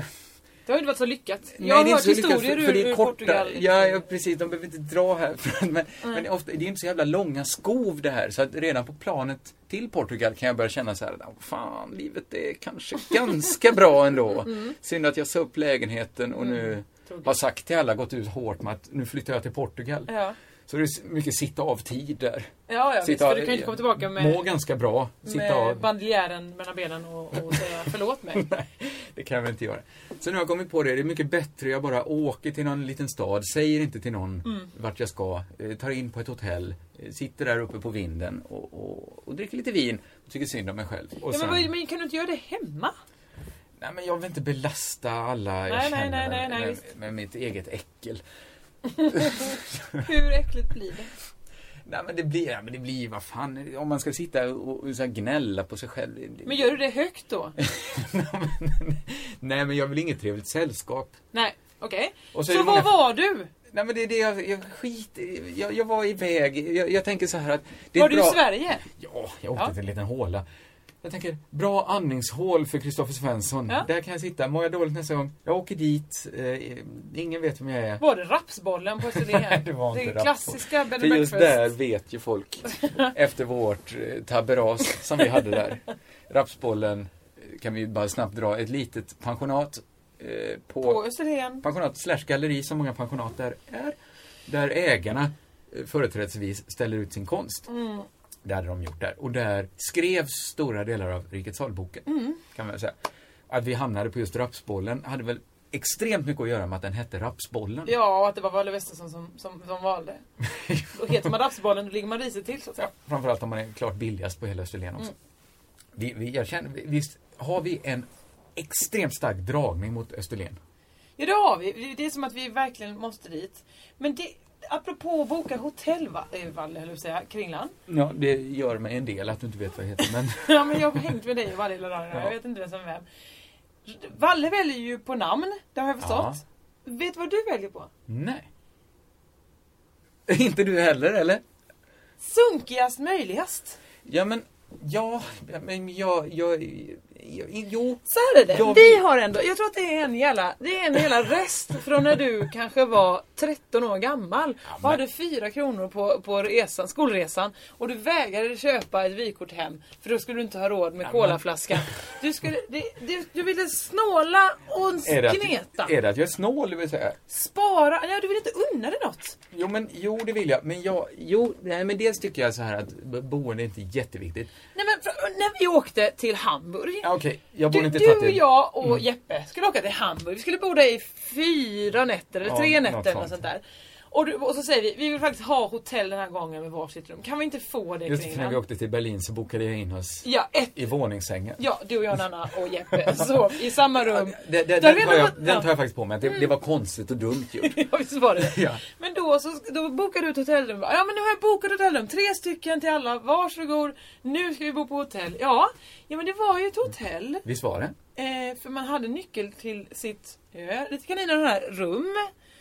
[SPEAKER 4] Det har ju inte varit så lyckat.
[SPEAKER 3] Nej,
[SPEAKER 4] jag har
[SPEAKER 3] det är
[SPEAKER 4] hört
[SPEAKER 3] inte så lyckat,
[SPEAKER 4] historier
[SPEAKER 3] för
[SPEAKER 4] ur,
[SPEAKER 3] det är
[SPEAKER 4] ur
[SPEAKER 3] korta-
[SPEAKER 4] Portugal.
[SPEAKER 3] Ja, ja, precis. De behöver inte dra här. Men,
[SPEAKER 4] Nej.
[SPEAKER 3] men ofta, det är inte så jävla långa skov det här. Så att redan på planet till Portugal kan jag börja känna så här, "Åh, fan, livet är kanske ganska bra ändå.
[SPEAKER 4] Mm.
[SPEAKER 3] Synd att jag sa upp lägenheten och nu har sagt till alla, gått ut hårt med att nu flyttar jag till Portugal.
[SPEAKER 4] Ja,
[SPEAKER 3] Så det är mycket sitta av tid där.
[SPEAKER 4] ja, ja visst,
[SPEAKER 3] Sitta-
[SPEAKER 4] för du kan ju inte komma tillbaka
[SPEAKER 3] Må
[SPEAKER 4] med,
[SPEAKER 3] ganska bra. Sitta
[SPEAKER 4] med
[SPEAKER 3] av.
[SPEAKER 4] bandljären mellan benen och, och säga förlåt mig.
[SPEAKER 3] Det kan jag väl inte göra. Så nu har jag kommit på det, det är mycket bättre jag bara åker till någon liten stad, säger inte till någon
[SPEAKER 4] Mm.
[SPEAKER 3] vart jag ska, eh, tar in på ett hotell, eh, sitter där uppe på vinden och, och, och dricker lite vin och tycker synd om mig själv. Och
[SPEAKER 4] Ja, men,
[SPEAKER 3] sen,
[SPEAKER 4] vad- men kan du inte göra det hemma?
[SPEAKER 3] Nej men jag vill inte belasta alla jag
[SPEAKER 4] Nej, nej,
[SPEAKER 3] känner
[SPEAKER 4] nej, nej, nej,
[SPEAKER 3] med,
[SPEAKER 4] visst.
[SPEAKER 3] med mitt eget äckel.
[SPEAKER 4] Hur äckligt blir det?
[SPEAKER 3] Nej men det blir, ja, men det blir vad fan, om man ska sitta och, och så här gnälla på sig själv. det- det-
[SPEAKER 4] Men gör du det högt då?
[SPEAKER 3] nej men jag vill inget trevligt sällskap.
[SPEAKER 4] Nej, okej.
[SPEAKER 3] Och
[SPEAKER 4] Så,
[SPEAKER 3] är det
[SPEAKER 4] vad
[SPEAKER 3] många-
[SPEAKER 4] var du?
[SPEAKER 3] Nej men det är det jag, jag skit jag, jag var iväg, jag, jag tänker så här att... Det är
[SPEAKER 4] var du
[SPEAKER 3] bra-
[SPEAKER 4] i Sverige?
[SPEAKER 3] Ja, jag åkte
[SPEAKER 4] Ja.
[SPEAKER 3] till en liten håla. Jag tänker, bra andningshål för Kristoffer Svensson.
[SPEAKER 4] Ja.
[SPEAKER 3] Där kan jag sitta. Mår jag dåligt nästa gång? Jag åker dit. Eh, ingen vet vem jag är.
[SPEAKER 4] Var det rapsbollen på Österlen?
[SPEAKER 3] Nej, det var inte
[SPEAKER 4] Det
[SPEAKER 3] rapsbollen.
[SPEAKER 4] klassiska bed
[SPEAKER 3] För
[SPEAKER 4] and
[SPEAKER 3] just
[SPEAKER 4] breakfast.
[SPEAKER 3] där vet ju folk efter vårt eh, tabberas som vi hade där. Rapsbollen eh, kan vi ju bara snabbt dra. Ett litet pensionat eh, på,
[SPEAKER 4] På Österlen.
[SPEAKER 3] pensionat slash galleri som många pensionat där är. Där ägarna eh, företrädesvis ställer ut sin konst.
[SPEAKER 4] Mm.
[SPEAKER 3] Det hade de gjort där. Och där skrevs stora delar av Rikets Hall-boken.
[SPEAKER 4] Mm.
[SPEAKER 3] Kan man väl säga. Att vi hamnade på just rapsbollen hade väl extremt mycket att göra med att den hette rapsbollen.
[SPEAKER 4] Ja, och att det var Valle Westesson som, som, som valde. Och heter man rapsbollen då ligger man risigt till så att säga.
[SPEAKER 3] Framförallt om man är klart billigast på hela Österlen
[SPEAKER 4] Mm.
[SPEAKER 3] också. Vi, vi, jag känner, vi- visst har vi en extremt stark dragning mot Österlen?
[SPEAKER 4] Ja, det har vi. Det är som att vi verkligen måste dit. Men det, apropå att boka hotell, va, eh, Valle, höll jag på att säga, Kringlan.
[SPEAKER 3] Ja, det gör mig en del att du inte vet vad jag heter. Men
[SPEAKER 4] Ja, men jag har hängt med dig varje lilla dag. Jag
[SPEAKER 3] Ja.
[SPEAKER 4] vet inte vem som är vem. Valle väljer ju på namn, det har jag förstått. Vet du vad du väljer på?
[SPEAKER 3] nej. inte du heller, eller?
[SPEAKER 4] Sunkigast möjligast.
[SPEAKER 3] Ja, men ja, men jag, jag, jag jo.
[SPEAKER 4] Så här är det.
[SPEAKER 3] Jag
[SPEAKER 4] Vi
[SPEAKER 3] vet.
[SPEAKER 4] har ändå, jag tror att det är en jävla, det är en jävla rest från när du kanske var 13 år gammal och
[SPEAKER 3] men-
[SPEAKER 4] hade 4 kronor på, på resan, skolresan och du vägrade köpa ett vykort hem för då skulle du inte ha råd med kolaflaskan. Du, skulle, det, det, du ville snåla och
[SPEAKER 3] Är det,
[SPEAKER 4] kneta.
[SPEAKER 3] att, är det att jag är snål, det vill säga?
[SPEAKER 4] Spara, nej du vill inte unna dig något.
[SPEAKER 3] Jo, men jo, det vill jag. Men jag, jo, nej, men dels tycker jag så här att bo- boende är inte jätteviktigt.
[SPEAKER 4] Nej men för, när vi åkte till Hamburg.
[SPEAKER 3] Ja, Okej, jag borde
[SPEAKER 4] Du,
[SPEAKER 3] inte Mm.
[SPEAKER 4] du
[SPEAKER 3] tagit
[SPEAKER 4] och
[SPEAKER 3] det.
[SPEAKER 4] jag och Jeppe skulle åka till Hamburg. Vi skulle bo där i fyra nätter eller
[SPEAKER 3] Ja,
[SPEAKER 4] tre
[SPEAKER 3] något
[SPEAKER 4] nätter och
[SPEAKER 3] sånt.
[SPEAKER 4] sånt där. Och, du, och så säger vi, vi vill faktiskt ha hotell den här gången med varsitt rum. Kan vi inte få det
[SPEAKER 3] Just
[SPEAKER 4] kring
[SPEAKER 3] för när vi åkte till Berlin så bokade jag in oss
[SPEAKER 4] Ja, ett,
[SPEAKER 3] i våningssängen.
[SPEAKER 4] ja, du och jag, Nanna och Jeppe sov i samma rum.
[SPEAKER 3] Det, det,
[SPEAKER 4] Där
[SPEAKER 3] den,
[SPEAKER 4] redan
[SPEAKER 3] tar jag,
[SPEAKER 4] var- ja.
[SPEAKER 3] den tar jag faktiskt på mig, att det, det var konstigt och dumt gjort.
[SPEAKER 4] Ja, visst var det det.
[SPEAKER 3] Ja.
[SPEAKER 4] Men då, så, då bokade du ett hotellrum. Ja, men nu har jag bokat hotellrum. Tre stycken till alla. Varsågod. Nu ska vi bo på hotell. Ja, ja men det var ju ett hotell.
[SPEAKER 3] Visst var det?
[SPEAKER 4] Eh, för man hade nyckel till sitt, ja, lite kaniner den här, rum.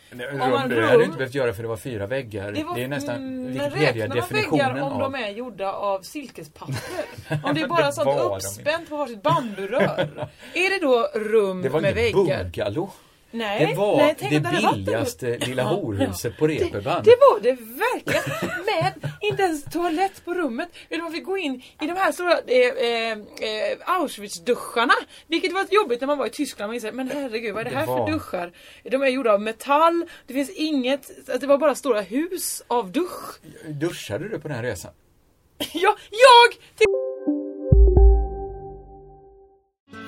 [SPEAKER 3] Rum,
[SPEAKER 4] man
[SPEAKER 3] det hade
[SPEAKER 4] rum-
[SPEAKER 3] du inte behövt göra för det var fyra väggar. Det,
[SPEAKER 4] var-
[SPEAKER 3] är nästan
[SPEAKER 4] mm,
[SPEAKER 3] Wikipedia-definitionen
[SPEAKER 4] väggar om
[SPEAKER 3] av...
[SPEAKER 4] de är gjorda av silkespapper? om det är bara
[SPEAKER 3] Det
[SPEAKER 4] sånt
[SPEAKER 3] var de
[SPEAKER 4] uppspänt på varsitt bamburör. är det då rum
[SPEAKER 3] Det var
[SPEAKER 4] med
[SPEAKER 3] inget
[SPEAKER 4] väggar?
[SPEAKER 3] bungalow.
[SPEAKER 4] Nej,
[SPEAKER 3] Det var
[SPEAKER 4] nej, tänk om det hade
[SPEAKER 3] det
[SPEAKER 4] varit en-
[SPEAKER 3] billigaste lilla horhuset på
[SPEAKER 4] Det, det
[SPEAKER 3] reeperbahn.
[SPEAKER 4] var det verkligen. Men inte ens toalett på rummet. Utan man fick gå in i de här stora eh, eh, eh, Auschwitz-duscharna. Vilket var jobbigt när man var i Tyskland. Man inser, men herregud, vad är det
[SPEAKER 3] Det
[SPEAKER 4] här
[SPEAKER 3] var-
[SPEAKER 4] för duschar? De är gjorda av metall. Det finns inget, att det var bara stora hus av dusch.
[SPEAKER 3] Duschade du på den här resan?
[SPEAKER 4] Ja, jag!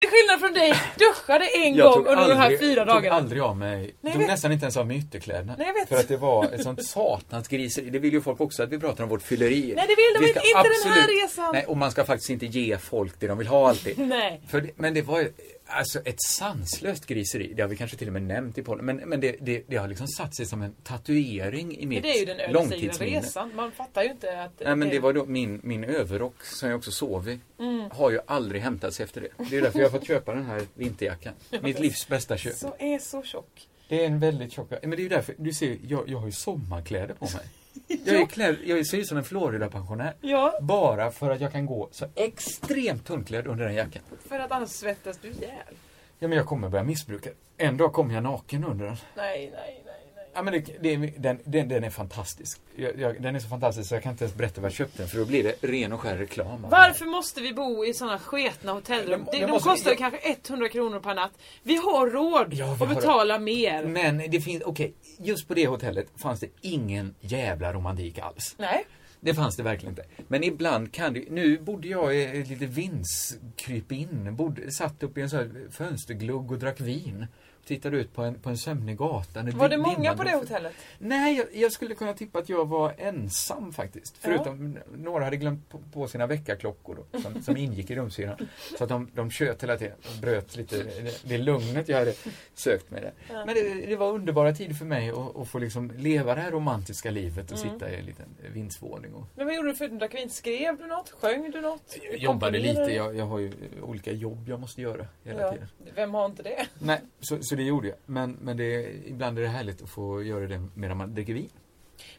[SPEAKER 4] Till skillnad från dig, duschade en
[SPEAKER 3] Jag
[SPEAKER 4] gång
[SPEAKER 3] tog
[SPEAKER 4] under de här
[SPEAKER 3] aldrig-
[SPEAKER 4] fyra
[SPEAKER 3] tog
[SPEAKER 4] dagarna.
[SPEAKER 3] aldrig av mig.
[SPEAKER 4] Nej, jag
[SPEAKER 3] tog
[SPEAKER 4] vet.
[SPEAKER 3] nästan inte ens av mig ytterkläderna.
[SPEAKER 4] Nej, jag vet.
[SPEAKER 3] För att det var ett sånt satans griseri. Det vill ju folk också att vi pratar om vårt fylleri.
[SPEAKER 4] Nej, det vill de
[SPEAKER 3] Vi
[SPEAKER 4] inte.
[SPEAKER 3] ska
[SPEAKER 4] Inte den här resan.
[SPEAKER 3] Nej, och man ska faktiskt inte ge folk det de vill ha alltid.
[SPEAKER 4] Nej.
[SPEAKER 3] För det, men det var ju alltså ett sanslöst griseri. Det har vi kanske till och med nämnt i podden. Men, men det, det, det har liksom satt sig som en tatuering i mitt
[SPEAKER 4] Det är ju den ödesdigra
[SPEAKER 3] långtidsminne.
[SPEAKER 4] resan. Man fattar ju Mm. inte att...
[SPEAKER 3] Nej men det var då min, min överrock som jag också sov i. Har ju aldrig hämtats efter det. Det är därför jag har fått köpa den här vinterjackan. Mitt livs bästa köp.
[SPEAKER 4] Så är så tjock.
[SPEAKER 3] Det är en väldigt tjock... Men det är ju därför, du ser, jag, jag har ju sommarkläder på mig. Jag, är klädd, jag ser ut som en Florida-pensionär.
[SPEAKER 4] Ja.
[SPEAKER 3] Bara för att jag kan gå så extremt tunnklädd under den jackan.
[SPEAKER 4] För att annars svettas du ihjäl.
[SPEAKER 3] Ja, men jag kommer börja missbruka det. En dag kommer jag naken under den.
[SPEAKER 4] Nej, nej, nej, nej.
[SPEAKER 3] Ja, men det, det, är- den, den, den är fantastisk. Jag, jag, den är så fantastisk så jag kan inte ens berätta var jag köpte den för då blir det ren och skär reklam.
[SPEAKER 4] Varför måste vi bo i sådana sketna hotellrum?
[SPEAKER 3] Jag-
[SPEAKER 4] De,
[SPEAKER 3] jag
[SPEAKER 4] de
[SPEAKER 3] måste-
[SPEAKER 4] kostar ju
[SPEAKER 3] jag-
[SPEAKER 4] kanske 100 kronor per natt. Vi har råd
[SPEAKER 3] Ja, vi
[SPEAKER 4] att
[SPEAKER 3] har-
[SPEAKER 4] betala mer.
[SPEAKER 3] Men det finns, okej, just på det hotellet fanns det ingen jävla romantik alls.
[SPEAKER 4] Nej.
[SPEAKER 3] Det fanns det verkligen inte. Men ibland kan det Nu bodde jag i ett litet vindskrypin. Bodde, satt upp i en sån här fönsterglugg och drack vin. Tittade ut på en, på en sömnig gata. när
[SPEAKER 4] Var det
[SPEAKER 3] vin-
[SPEAKER 4] många
[SPEAKER 3] dimman
[SPEAKER 4] på det
[SPEAKER 3] drog-
[SPEAKER 4] hotellet?
[SPEAKER 3] Nej, jag, jag skulle kunna tippa att jag var ensam faktiskt. Förutom några hade glömt på, på sina väckarklockor då, som, som ingick i rumshyran. Så att de, de tjöt hela tiden och bröt lite det, det lugnet jag hade sökt med det. Men det, det var underbara tid för mig att, att få liksom leva det här romantiska livet och
[SPEAKER 4] Mm.
[SPEAKER 3] sitta i en liten vindsvåning och
[SPEAKER 4] Men vad gjorde du förutom drack vin? Skrev du något? Sjöng du något?
[SPEAKER 3] jag jobbade
[SPEAKER 4] Komponerade
[SPEAKER 3] lite,
[SPEAKER 4] du?
[SPEAKER 3] jag, jag har ju eh, olika jobb jag måste göra hela
[SPEAKER 4] Ja.
[SPEAKER 3] tiden.
[SPEAKER 4] Vem har inte det?
[SPEAKER 3] Nej, så, så det gjorde jag. Men, men det, är- ibland är det härligt att få göra det medan man dricker vin.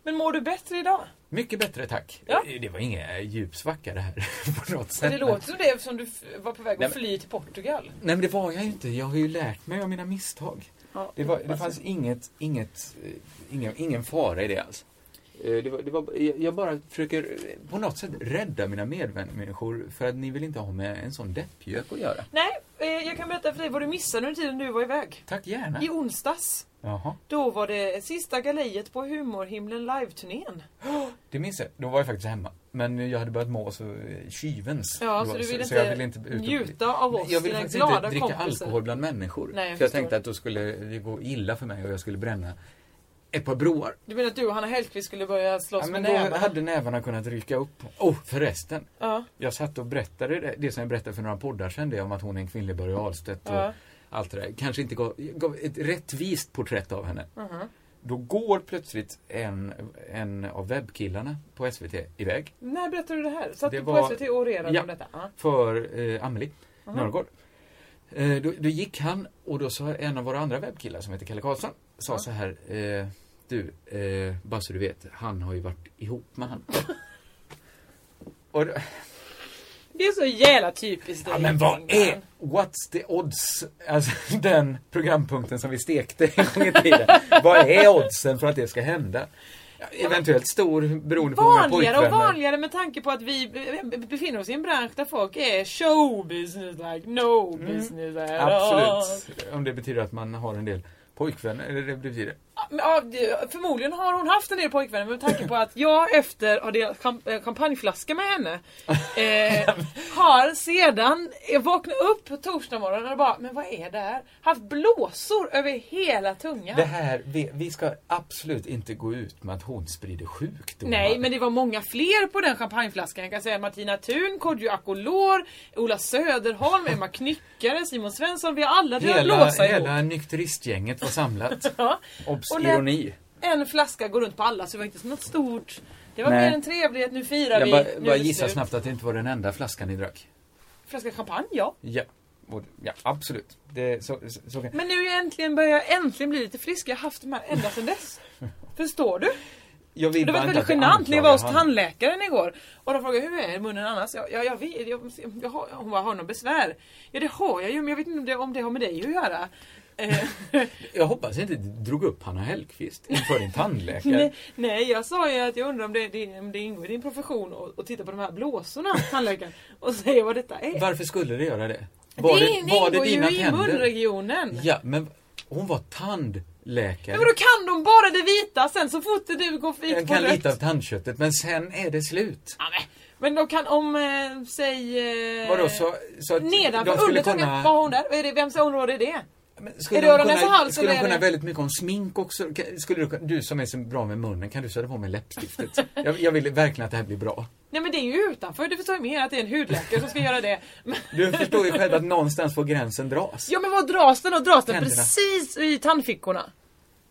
[SPEAKER 4] Men mår du bättre idag?
[SPEAKER 3] Mycket bättre tack. Eh,
[SPEAKER 4] Ja.
[SPEAKER 3] Det var ingen djupsvacka det här på något sätt.
[SPEAKER 4] Det låter som det eftersom du f- var på väg
[SPEAKER 3] Nej,
[SPEAKER 4] att
[SPEAKER 3] men-
[SPEAKER 4] fly till Portugal.
[SPEAKER 3] Nej men det var jag ju inte. Jag har ju lärt mig av mina misstag.
[SPEAKER 4] Ja,
[SPEAKER 3] Det, var, det fanns inget, inget, eh, ingen, ingen fara i det alls. Eh, Det var, det var, jag- jag bara försöker eh, på något sätt rädda mina medmänniskor för att ni vill inte ha med en sån deppgök att göra.
[SPEAKER 4] Nej, eh, jag kan berätta för dig vad du missade under tiden du var iväg.
[SPEAKER 3] Tack gärna.
[SPEAKER 4] I onsdags,
[SPEAKER 3] Jaha.
[SPEAKER 4] då var det sista galejet på Humorhimlen live-turnén.
[SPEAKER 3] Det minns jag. Då var jag faktiskt hemma. Men jag hade börjat må så eh, kyvens.
[SPEAKER 4] Ja, så
[SPEAKER 3] Då-
[SPEAKER 4] du ville
[SPEAKER 3] jag
[SPEAKER 4] inte
[SPEAKER 3] ut och-
[SPEAKER 4] njuta av oss,
[SPEAKER 3] Nej, Jag ville
[SPEAKER 4] dina
[SPEAKER 3] faktiskt
[SPEAKER 4] glada
[SPEAKER 3] inte dricka
[SPEAKER 4] kompisar.
[SPEAKER 3] alkohol bland människor.
[SPEAKER 4] Nej, jag
[SPEAKER 3] för jag
[SPEAKER 4] förstår.
[SPEAKER 3] tänkte att då skulle det gå illa för mig och jag skulle bränna ett par broar.
[SPEAKER 4] Du menar att du och Hanna Hellquist skulle börja slåss
[SPEAKER 3] Ja, men
[SPEAKER 4] med nävarna?
[SPEAKER 3] då hade nävarna kunnat ryka upp. Oh, förresten.
[SPEAKER 4] Ja.
[SPEAKER 3] Jag satt och berättade det, det som jag berättade för några poddar sedan, det om att hon är en kvinnlig Börje Ahlstedt och
[SPEAKER 4] Ja.
[SPEAKER 3] allt det där. Kanske inte gav, gav ett rättvist porträtt av henne.
[SPEAKER 4] Uh-huh.
[SPEAKER 3] Då går plötsligt en, en av webbkillarna på SVT iväg.
[SPEAKER 4] När berättade du det här? Satt
[SPEAKER 3] Det
[SPEAKER 4] du på
[SPEAKER 3] var-
[SPEAKER 4] SVT och orerade
[SPEAKER 3] Ja.
[SPEAKER 4] om detta? Ja.
[SPEAKER 3] för eh, Amelie Nörgård. Eh, då, då gick han och då sa en av våra andra webbkillar som heter Kalle Karlsson, sa så här eh, Du, eh, bara så du vet, han har ju varit ihop med han. och, då-
[SPEAKER 4] Det är så jävla typiskt dig.
[SPEAKER 3] ja, men vad är, what's the odds? Alltså den programpunkten som vi stekte en gång i tiden. vad är oddsen för att det ska hända? Ja, Eventuellt stor beroende på hur många
[SPEAKER 4] Vanligare och
[SPEAKER 3] pojkvänner.
[SPEAKER 4] vanligare med tanke på att vi eh, befinner oss i en bransch där folk är show business like no business at all.
[SPEAKER 3] Mm. Absolut. Om det betyder att man har en del pojkvänner, eller det betyder
[SPEAKER 4] Ja, men, ja, det- Förmodligen har hon haft en del pojkvänner men med tanke på att jag efter att ha delat cham- eh, champagneflaska med henne eh, har sedan eh, vaknat upp på torsdag morgon och bara men vad är det här? Haft blåsor över hela tungan.
[SPEAKER 3] Det här, vi, vi ska absolut inte gå ut med att hon sprider sjukdomar.
[SPEAKER 4] Nej, men det var många fler på den champagneflaskan. Jag kan säga Martina Thun, Kodjo Akolor, Ola Söderholm, Emma Knyckare, Simon Svensson. Vi har alla delat
[SPEAKER 3] Hela,
[SPEAKER 4] blåsa ihop.
[SPEAKER 3] hela nykteristgänget var samlat.
[SPEAKER 4] Ja.
[SPEAKER 3] Obs,
[SPEAKER 4] Och lät-
[SPEAKER 3] ironi.
[SPEAKER 4] En flaska går runt på alla, så det var inte något stort. Det var
[SPEAKER 3] Nej.
[SPEAKER 4] mer en trevlighet, nu firar
[SPEAKER 3] Jag
[SPEAKER 4] vi.
[SPEAKER 3] bara,
[SPEAKER 4] nu
[SPEAKER 3] bara
[SPEAKER 4] är det
[SPEAKER 3] gissar
[SPEAKER 4] slut.
[SPEAKER 3] snabbt att det inte var den enda flaskan ni drack.
[SPEAKER 4] Flaska champagne, ja.
[SPEAKER 3] Ja, och, ja absolut. Det, så, så, så. kan-
[SPEAKER 4] Men nu äntligen börjar jag äntligen bli lite frisk. Jag har haft de här ända sedan dess. Förstår du?
[SPEAKER 3] Jag vill
[SPEAKER 4] Det
[SPEAKER 3] bara
[SPEAKER 4] var
[SPEAKER 3] inte
[SPEAKER 4] väldigt
[SPEAKER 3] att jag
[SPEAKER 4] genant när jag var hos
[SPEAKER 3] anklagar han.
[SPEAKER 4] tandläkaren igår. Och de frågade hur är munnen annars? Jag, jag, jag vet, jag, jag, har, hon bara, har du något besvär? Ja det har jag ju men jag vet inte om det, om det har med dig att göra. Eh,
[SPEAKER 3] Jag hoppas jag inte drog upp Hanna Hellquist inför din tandläkare.
[SPEAKER 4] nej, nej, jag sa ju att jag undrar om det, det, om det ingår i din profession att att titta på de här blåsorna, tandläkaren, och säga vad detta är.
[SPEAKER 3] Varför skulle det göra det? Var
[SPEAKER 4] det,
[SPEAKER 3] det,
[SPEAKER 4] in- det
[SPEAKER 3] var
[SPEAKER 4] ingår
[SPEAKER 3] det dina
[SPEAKER 4] ju i
[SPEAKER 3] tänder?
[SPEAKER 4] munregionen.
[SPEAKER 3] Ja, men hon var tandläkare.
[SPEAKER 4] Men då kan de bara det vita sen så fort du går
[SPEAKER 3] Den
[SPEAKER 4] hit på
[SPEAKER 3] kan
[SPEAKER 4] rött.
[SPEAKER 3] lite av tandköttet, men sen är det slut.
[SPEAKER 4] Ja, men- Men de kan om, eh, säg... Eh,
[SPEAKER 3] Vadå, så, så att de
[SPEAKER 4] Nedanför
[SPEAKER 3] skulle
[SPEAKER 4] undertungan,
[SPEAKER 3] kunna-
[SPEAKER 4] vad har hon där? Vad är det, vems område är det?
[SPEAKER 3] Men
[SPEAKER 4] Är
[SPEAKER 3] Skulle
[SPEAKER 4] det
[SPEAKER 3] de
[SPEAKER 4] öron,
[SPEAKER 3] kunna,
[SPEAKER 4] näsa, hals
[SPEAKER 3] skulle de
[SPEAKER 4] eller är
[SPEAKER 3] kunna
[SPEAKER 4] det-
[SPEAKER 3] väldigt mycket om smink också? Kan- Skulle du, du som är så bra med munnen, kan du sätta på mig läppstiftet? jag, jag vill verkligen att det här blir bra.
[SPEAKER 4] Nej men det är ju utanför, du förstår ju mer att det är en hudläkare som ska göra det. Men-
[SPEAKER 3] Du förstår ju själv att någonstans får gränsen dras.
[SPEAKER 4] Ja men vad dras den och dras den
[SPEAKER 3] Tänderna.
[SPEAKER 4] precis i tandfickorna?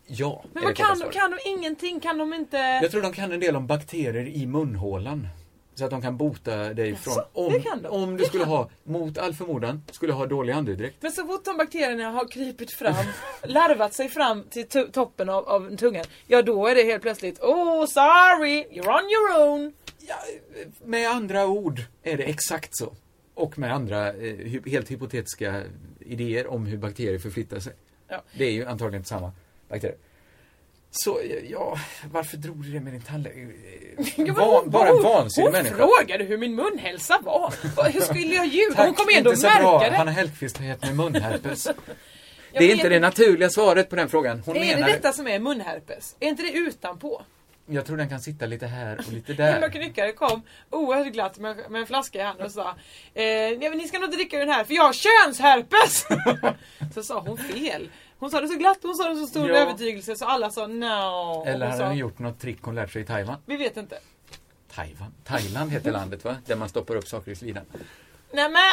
[SPEAKER 3] Ja,
[SPEAKER 4] Men
[SPEAKER 3] är det
[SPEAKER 4] vad
[SPEAKER 3] korta
[SPEAKER 4] kan de?
[SPEAKER 3] svaret.
[SPEAKER 4] Kan de ingenting? Kan de inte...
[SPEAKER 3] Jag tror de kan en del om bakterier i munhålan. Så att de kan bota dig från... Om,
[SPEAKER 4] det kan de.
[SPEAKER 3] om du skulle ha, mot all förmodan, skulle ha dålig andedräkt.
[SPEAKER 4] Men så fort de bakterierna har krypit fram, larvat sig fram till to- toppen av, av tungan, ja då är det helt plötsligt Oh sorry, you're on your own.
[SPEAKER 3] Med andra ord är det exakt så. Och med andra eh, hy- helt hypotetiska idéer om hur bakterier förflyttar sig.
[SPEAKER 4] Ja.
[SPEAKER 3] Det är ju antagligen inte samma bakterier. Så, eh, ja, varför drog du det med din tandläkare?
[SPEAKER 4] Ja,
[SPEAKER 3] Eh,
[SPEAKER 4] men
[SPEAKER 3] Van,
[SPEAKER 4] hon-
[SPEAKER 3] bara en vansinnig
[SPEAKER 4] hon
[SPEAKER 3] människa.
[SPEAKER 4] frågade hur min munhälsa var. Vad- Hur skulle jag ljuga?
[SPEAKER 3] Tack,
[SPEAKER 4] Hon kom ändå och
[SPEAKER 3] inte så bra.
[SPEAKER 4] märka det.
[SPEAKER 3] Hanna Hellquist har gett mig munherpes.
[SPEAKER 4] Jag
[SPEAKER 3] Det är
[SPEAKER 4] vet
[SPEAKER 3] inte det naturliga svaret på den frågan. Hon
[SPEAKER 4] Är det
[SPEAKER 3] menar
[SPEAKER 4] detta som är munherpes? Är inte det utanpå?
[SPEAKER 3] Jag tror den kan sitta lite här och lite
[SPEAKER 4] En
[SPEAKER 3] där.
[SPEAKER 4] knyckare kom oerhört glatt med, med en flaska i handen och sa eh, "Nej, men Ni ska nog inte dricka den här för jag har könsherpes! så sa hon fel. Hon sa det så glatt, hon sa det så stor
[SPEAKER 3] Ja.
[SPEAKER 4] övertygelse så alla sa no.
[SPEAKER 3] Eller
[SPEAKER 4] hon
[SPEAKER 3] har
[SPEAKER 4] sa,
[SPEAKER 3] hon gjort något trick hon lärt sig i Thailand?
[SPEAKER 4] Vi vet inte.
[SPEAKER 3] Taiwan? Thailand heter landet va? Där man stoppar upp saker i slidan.
[SPEAKER 4] Nej men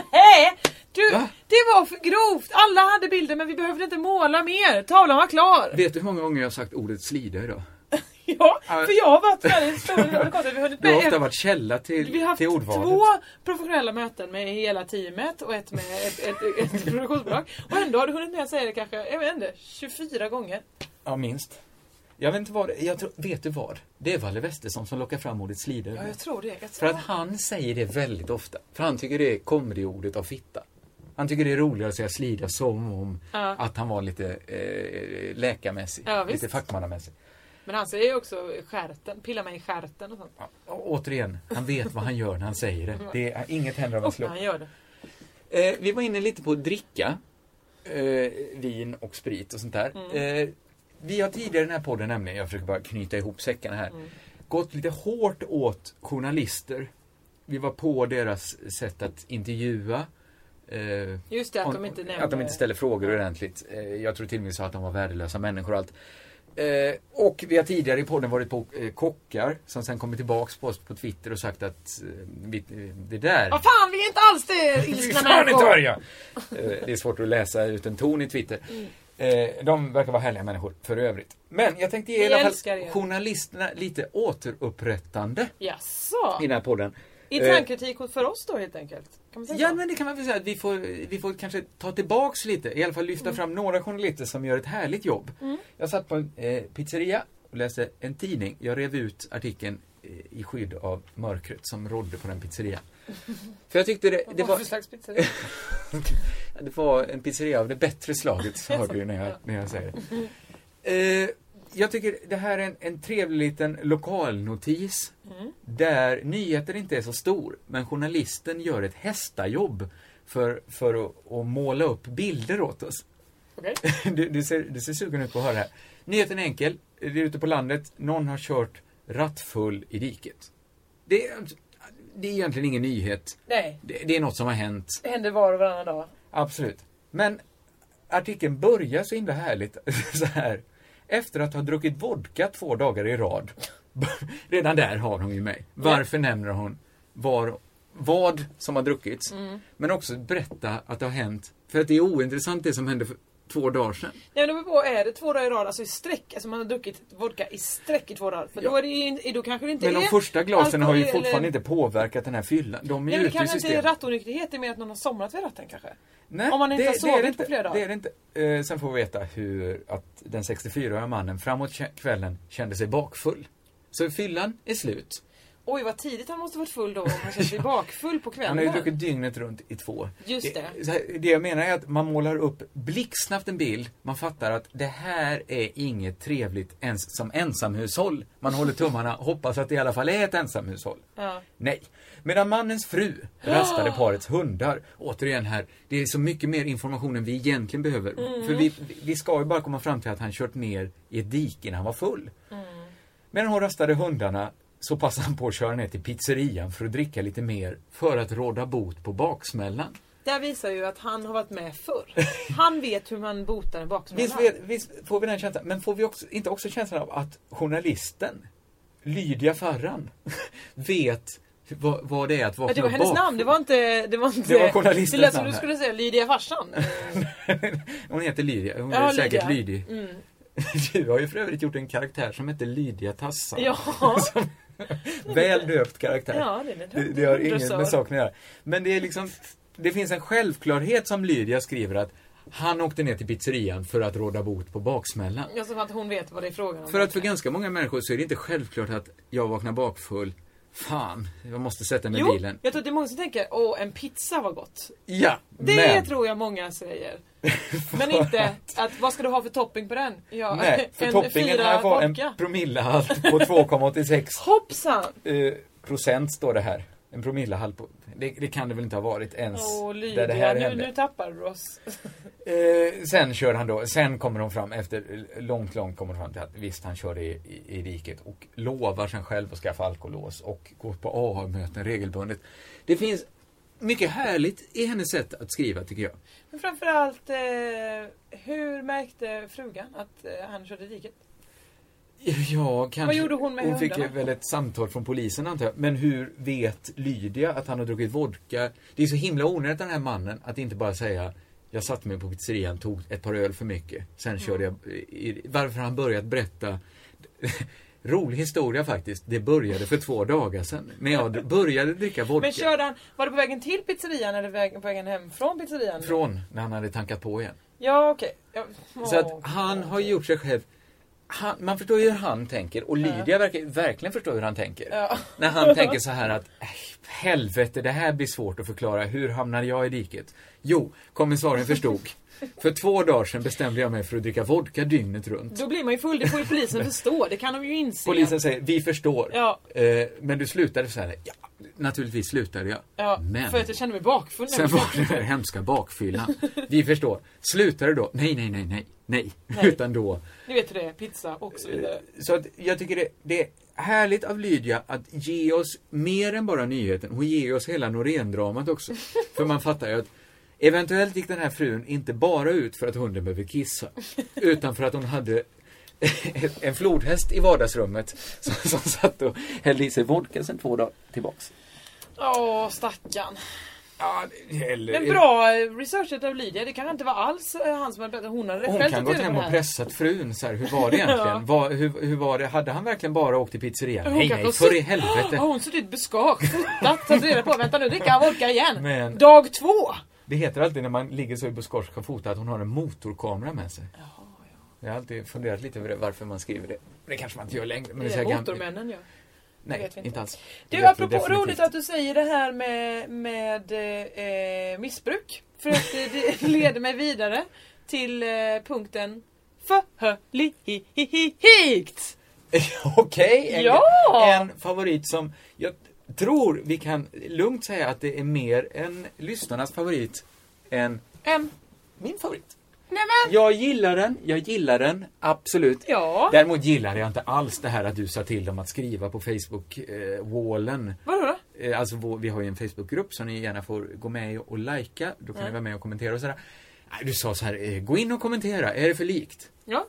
[SPEAKER 4] nej! Du,
[SPEAKER 3] Va?
[SPEAKER 4] det var för grovt! Alla hade bilder men vi behövde inte måla mer. Tavlan var klar.
[SPEAKER 3] Vet du hur många gånger jag har sagt ordet slida idag?
[SPEAKER 4] Ja,
[SPEAKER 3] Ja.
[SPEAKER 4] för jag har varit väldigt spännande. och konstigt. Vi har hunnit
[SPEAKER 3] Du har
[SPEAKER 4] med
[SPEAKER 3] ofta varit källa till,
[SPEAKER 4] Vi har haft
[SPEAKER 3] till ordvalet.
[SPEAKER 4] två professionella möten med hela teamet och ett med ett, ett, ett produktionsbolag. Och ändå har du hunnit med att säga det kanske, jag vet inte, 24 gånger.
[SPEAKER 3] Ja, minst. Jag vet inte vad det jag tror, Vet du vad? Det är Valle Westesson som lockar fram ordet slida
[SPEAKER 4] Ja, jag tror det. Jag
[SPEAKER 3] För
[SPEAKER 4] tror.
[SPEAKER 3] att han säger det väldigt ofta. För han tycker det kommer i ordet av fitta. Han tycker det är roligare att säga slida som om
[SPEAKER 4] Ja.
[SPEAKER 3] att han var lite eh, läkarmässig.
[SPEAKER 4] Ja, visst.
[SPEAKER 3] lite fackmannamässig.
[SPEAKER 4] Men han säger ju också skärten, pilla mig i skärten och sånt.
[SPEAKER 3] Ja, och återigen, han vet vad han gör när han säger
[SPEAKER 4] Mm.
[SPEAKER 3] det. det är, inget händer av en
[SPEAKER 4] Och
[SPEAKER 3] slump.
[SPEAKER 4] han gör det.
[SPEAKER 3] Eh, vi var inne lite på att dricka. Eh, vin och sprit och sånt där.
[SPEAKER 4] Mm.
[SPEAKER 3] Eh, vi har tidigare i den här podden nämligen, jag försöker bara knyta ihop säckarna här,
[SPEAKER 4] Mm.
[SPEAKER 3] gått lite hårt åt journalister. Vi var på deras sätt att intervjua. Eh,
[SPEAKER 4] Just det, att
[SPEAKER 3] om-
[SPEAKER 4] de inte nämner...
[SPEAKER 3] Att de inte ställer frågor ordentligt. Eh, Jag tror till och med vi sa att de var värdelösa människor och allt. Eh, Och vi har tidigare i podden varit på eh, kockar som sen kommer tillbaks på oss på Twitter och sagt att eh, vi- eh, det där...
[SPEAKER 4] Vad fan, vi är inte alls det
[SPEAKER 3] Fy
[SPEAKER 4] ilskna
[SPEAKER 3] fan inte
[SPEAKER 4] människor!
[SPEAKER 3] hör jag! Eh, Det är svårt att läsa ut en ton i Twitter.
[SPEAKER 4] Mm.
[SPEAKER 3] Eh, De verkar vara härliga människor för övrigt. Men jag tänkte ge
[SPEAKER 4] Vi
[SPEAKER 3] i alla
[SPEAKER 4] älskar er.
[SPEAKER 3] fall journalisterna lite återupprättande
[SPEAKER 4] Jaså?
[SPEAKER 3] i den här podden. Eh,
[SPEAKER 4] Internkritik mot- för oss då helt enkelt? Kan man säga
[SPEAKER 3] Ja
[SPEAKER 4] så?
[SPEAKER 3] men det kan man väl säga att vi får, vi får kanske ta tillbaks lite, i alla fall lyfta
[SPEAKER 4] Mm.
[SPEAKER 3] fram några journalister som gör ett härligt jobb. Jag satt på en eh, pizzeria och läste en tidning. Jag rev ut artikeln eh, i skydd av mörkret som rådde på den pizzerian. För jag tyckte det, det,
[SPEAKER 4] Vad
[SPEAKER 3] var,
[SPEAKER 4] för slags pizza är det?
[SPEAKER 3] det var en pizzeria av det bättre slaget, så hör du ju när jag, när jag säger det. Eh, jag tycker det här är en, en trevlig liten lokalnotis där nyheter inte är så stor, men journalisten gör ett hästajobb för, för att, att måla upp bilder åt oss.
[SPEAKER 4] Okej.
[SPEAKER 3] Du, du, ser, du ser sugen ut på att höra det här. Nyheten är enkel. Det är ute på landet. Någon har kört rattfull i diket. Det, är- det är egentligen ingen nyhet.
[SPEAKER 4] Nej,
[SPEAKER 3] Det, det är något som har hänt.
[SPEAKER 4] det händer var och varannan dag.
[SPEAKER 3] Absolut. Men artikeln börjar så himla härligt så här. Efter att ha druckit vodka två dagar i rad. Redan där har hon ju mig. Varför nämner hon var, vad som har druckits?
[SPEAKER 4] Mm.
[SPEAKER 3] Men också berätta att det har hänt. För att det är ointressant det som hände för två dagar sedan.
[SPEAKER 4] Nej men det beror på, är det två dagar i rad, alltså i sträck, alltså man har druckit vodka i sträck i två dagar. För då,
[SPEAKER 3] Ja.
[SPEAKER 4] är det ju, inte- då kanske det inte
[SPEAKER 3] Men
[SPEAKER 4] är
[SPEAKER 3] de första glasen har ju
[SPEAKER 4] alkohol
[SPEAKER 3] fortfarande inte påverkat den här fyllan. De är
[SPEAKER 4] Nej
[SPEAKER 3] ju
[SPEAKER 4] men det
[SPEAKER 3] ute i
[SPEAKER 4] kanske inte är
[SPEAKER 3] systemet.
[SPEAKER 4] rattonykterhet, det är mer att någon har somnat vid ratten kanske.
[SPEAKER 3] Nej,
[SPEAKER 4] Om man inte
[SPEAKER 3] det,
[SPEAKER 4] har
[SPEAKER 3] det är
[SPEAKER 4] sovit
[SPEAKER 3] det
[SPEAKER 4] på
[SPEAKER 3] inte,
[SPEAKER 4] flera dagar.
[SPEAKER 3] Det är det inte. Eh, sen får vi veta hur att den 64-åriga mannen framåt kä- kvällen kände sig bakfull. Så fyllan är slut.
[SPEAKER 4] Oj vad tidigt han måste varit full då om han känner sig bakfull på
[SPEAKER 3] Han har ju
[SPEAKER 4] kvällen.
[SPEAKER 3] druckit dygnet runt i två.
[SPEAKER 4] Just det.
[SPEAKER 3] så här, det jag menar är att man målar upp blixtsnabbt en bild, man fattar att det här är inget trevligt ens som ensamhushåll. Man håller tummarna, hoppas att det i alla fall är ett ensamhushåll.
[SPEAKER 4] Ja.
[SPEAKER 3] Nej. Medan mannens fru rastade parets hundar. Återigen här, det är så mycket mer information än vi egentligen behöver.
[SPEAKER 4] Mm.
[SPEAKER 3] För vi, vi ska ju bara komma fram till att han kört ner i ett dike när han var full.
[SPEAKER 4] Mm.
[SPEAKER 3] Medan hon rastade hundarna så passade han på att köra ner till pizzerian för att dricka lite mer för att råda bot på baksmällan.
[SPEAKER 4] Det här visar ju att han har varit med förr. Han vet hur man botar en baksmälla.
[SPEAKER 3] Visst, vet- visst får vi den känslan, men får vi också, inte också känslan av att journalisten, Lydia Farran, vet vad, vad det är att vakna
[SPEAKER 4] Ja, det var hennes
[SPEAKER 3] bak-
[SPEAKER 4] namn, det var inte... Det var, inte,
[SPEAKER 3] Det var journalistens
[SPEAKER 4] Det lät som
[SPEAKER 3] namn
[SPEAKER 4] du
[SPEAKER 3] här.
[SPEAKER 4] skulle säga Lydia farsan.
[SPEAKER 3] Hon heter Lydia, hon
[SPEAKER 4] Ja,
[SPEAKER 3] är säkert
[SPEAKER 4] Lydia. Mm.
[SPEAKER 3] lydig. Du har ju för övrigt gjort en karaktär som heter Lydia Tassan.
[SPEAKER 4] Ja,
[SPEAKER 3] Väl döpt karaktär.
[SPEAKER 4] ja det är det.
[SPEAKER 3] Det, det har inget
[SPEAKER 4] Dressör.
[SPEAKER 3] med saken att göra. Men det är liksom, det finns en självklarhet som Lydia skriver att han åkte ner till pizzerian för att råda bot på baksmällan.
[SPEAKER 4] Ja, som att hon vet vad det är frågan om.
[SPEAKER 3] För att för ganska många människor så är det inte självklart att jag vaknar bakfull. Fan, jag måste sätta mig i
[SPEAKER 4] jo,
[SPEAKER 3] bilen.
[SPEAKER 4] jag tror att det är många som tänker åh en pizza var gott.
[SPEAKER 3] Ja,
[SPEAKER 4] Det
[SPEAKER 3] men.
[SPEAKER 4] tror jag många säger. Men inte att vad ska du ha för topping på den? Ja,
[SPEAKER 3] Nej, för
[SPEAKER 4] en
[SPEAKER 3] toppingen
[SPEAKER 4] fyra
[SPEAKER 3] här var en
[SPEAKER 4] vodka.
[SPEAKER 3] promillehalt på 2,86
[SPEAKER 4] Hoppsan!
[SPEAKER 3] eh, procent står det här. En promillehalt på... Det, det kan det väl inte ha varit ens
[SPEAKER 4] Åh
[SPEAKER 3] där
[SPEAKER 4] Lydia,
[SPEAKER 3] det här
[SPEAKER 4] nu, nu
[SPEAKER 3] hände.
[SPEAKER 4] tappar du oss.
[SPEAKER 3] Eh, sen kör han då, sen kommer de fram efter, långt, långt kommer de fram till att visst han kör i, i, i riket och lovar sig själv att skaffa alkolås och går på AA-möten regelbundet. Det finns mycket härligt i hennes sätt att skriva tycker jag.
[SPEAKER 4] Men framförallt, eh, hur märkte frugan att eh, han körde i diket?
[SPEAKER 3] Ja, kanske.
[SPEAKER 4] Vad gjorde hon med
[SPEAKER 3] Hon fick
[SPEAKER 4] hundarna?
[SPEAKER 3] väl ett samtal från polisen antar jag. Men hur vet Lydia att han har druckit vodka? Det är så himla onödigt den här mannen att inte bara säga jag satte mig på pizzerian, tog ett par öl för mycket.
[SPEAKER 4] Mm.
[SPEAKER 3] Sen körde jag... i- Varför har han börjat berätta... Rolig historia faktiskt. Det började för två dagar sedan. När jag d- började dricka vodka.
[SPEAKER 4] Men körde han, var det på vägen till pizzerian eller vägen, på vägen hem från pizzerian?
[SPEAKER 3] Från när han hade tankat på igen.
[SPEAKER 4] Ja okej. Ja,
[SPEAKER 3] Så
[SPEAKER 4] åh,
[SPEAKER 3] att han
[SPEAKER 4] åh,
[SPEAKER 3] har gjort sig själv... Han, man förstår ju hur han tänker och Lydia verkar verkligen förstå hur han tänker.
[SPEAKER 4] Ja.
[SPEAKER 3] När han tänker så här att "Äh, helvete, det här blir svårt att förklara. Hur hamnade jag i diket? Jo, kommissarien förstod. För två dagar sedan bestämde jag mig för att dricka vodka dygnet runt.
[SPEAKER 4] Då blir man ju full, det får ju polisen förstå. Det kan de ju inse.
[SPEAKER 3] Polisen säger, vi förstår.
[SPEAKER 4] Ja.
[SPEAKER 3] Eh, men du slutade så här. Ja, naturligtvis slutade jag.
[SPEAKER 4] Ja,
[SPEAKER 3] men...
[SPEAKER 4] för att jag kände mig bakfull.
[SPEAKER 3] Sen var det den här hemska bakfyllan. Vi förstår. Slutar du då? Nej, nej, nej, nej, nej.
[SPEAKER 4] Nej.
[SPEAKER 3] Utan då
[SPEAKER 4] Ni vet hur det är, pizza och så vidare.
[SPEAKER 3] Så att jag tycker det, det är härligt av Lydia att ge oss mer än bara nyheten. Hon ger oss hela Norén-dramat också. För man fattar ju att eventuellt gick den här frun inte bara ut för att hunden behöver kissa. Utan för att hon hade en flodhäst i vardagsrummet som, som satt och hällde i sig vodka sen två dagar tillbaks.
[SPEAKER 4] Åh, stackarn.
[SPEAKER 3] Eh, Ja, eller,
[SPEAKER 4] Men bra eh, researchat av Lydia. Det kanske inte var alls eh, han som hade berättat. Hon hade
[SPEAKER 3] Hon
[SPEAKER 4] själv
[SPEAKER 3] kan
[SPEAKER 4] tagit
[SPEAKER 3] gått
[SPEAKER 4] reda
[SPEAKER 3] hem
[SPEAKER 4] på
[SPEAKER 3] och
[SPEAKER 4] det här.
[SPEAKER 3] pressat frun så här, hur var det egentligen?
[SPEAKER 4] Ja.
[SPEAKER 3] Var, hur, hur var det? Hade han verkligen bara åkt till pizzerian?
[SPEAKER 4] Hon
[SPEAKER 3] Nej,
[SPEAKER 4] kanske
[SPEAKER 3] nej,
[SPEAKER 4] har
[SPEAKER 3] för i
[SPEAKER 4] suttit-
[SPEAKER 3] helvete!
[SPEAKER 4] Har hon suttit beskak, fotat, tagit reda på. Vänta nu, dricker han vodka igen?
[SPEAKER 3] Men-
[SPEAKER 4] Dag två!
[SPEAKER 3] Det heter alltid när man ligger så i buskage och fotar att hon har en motorkamera med sig. Jag har alltid funderat lite över det, varför man skriver det. Det kanske man inte gör längre. Men det är
[SPEAKER 4] Det
[SPEAKER 3] så här
[SPEAKER 4] är
[SPEAKER 3] gam-
[SPEAKER 4] motormännen ja.
[SPEAKER 3] Nej,
[SPEAKER 4] vet vi
[SPEAKER 3] inte.
[SPEAKER 4] inte.
[SPEAKER 3] alls. Det
[SPEAKER 4] Du,
[SPEAKER 3] vet vi
[SPEAKER 4] apropå
[SPEAKER 3] definitivt.
[SPEAKER 4] roligt att du säger det här med, med eh, eh, missbruk. För att det, det leder mig vidare till eh, punkten förhöligt.
[SPEAKER 3] Okej! en,
[SPEAKER 4] Ja!
[SPEAKER 3] en favorit som jag tror vi kan lugnt säga att det är mer en lyssnarnas favorit än
[SPEAKER 4] En.
[SPEAKER 3] min favorit.
[SPEAKER 4] Nämen!
[SPEAKER 3] Jag gillar den, jag gillar den, absolut.
[SPEAKER 4] Ja.
[SPEAKER 3] Däremot gillar jag inte alls det här att du sa till dem att skriva på eh, Facebook-wallen.
[SPEAKER 4] Vadå då?
[SPEAKER 3] Eh, Alltså vår, vi har ju en Facebookgrupp som ni gärna får gå med i och likea. Då kan
[SPEAKER 4] Mm.
[SPEAKER 3] ni vara med och kommentera och sådär. Nej, Du sa så här, eh, gå in och kommentera, är det för likt?
[SPEAKER 4] Ja.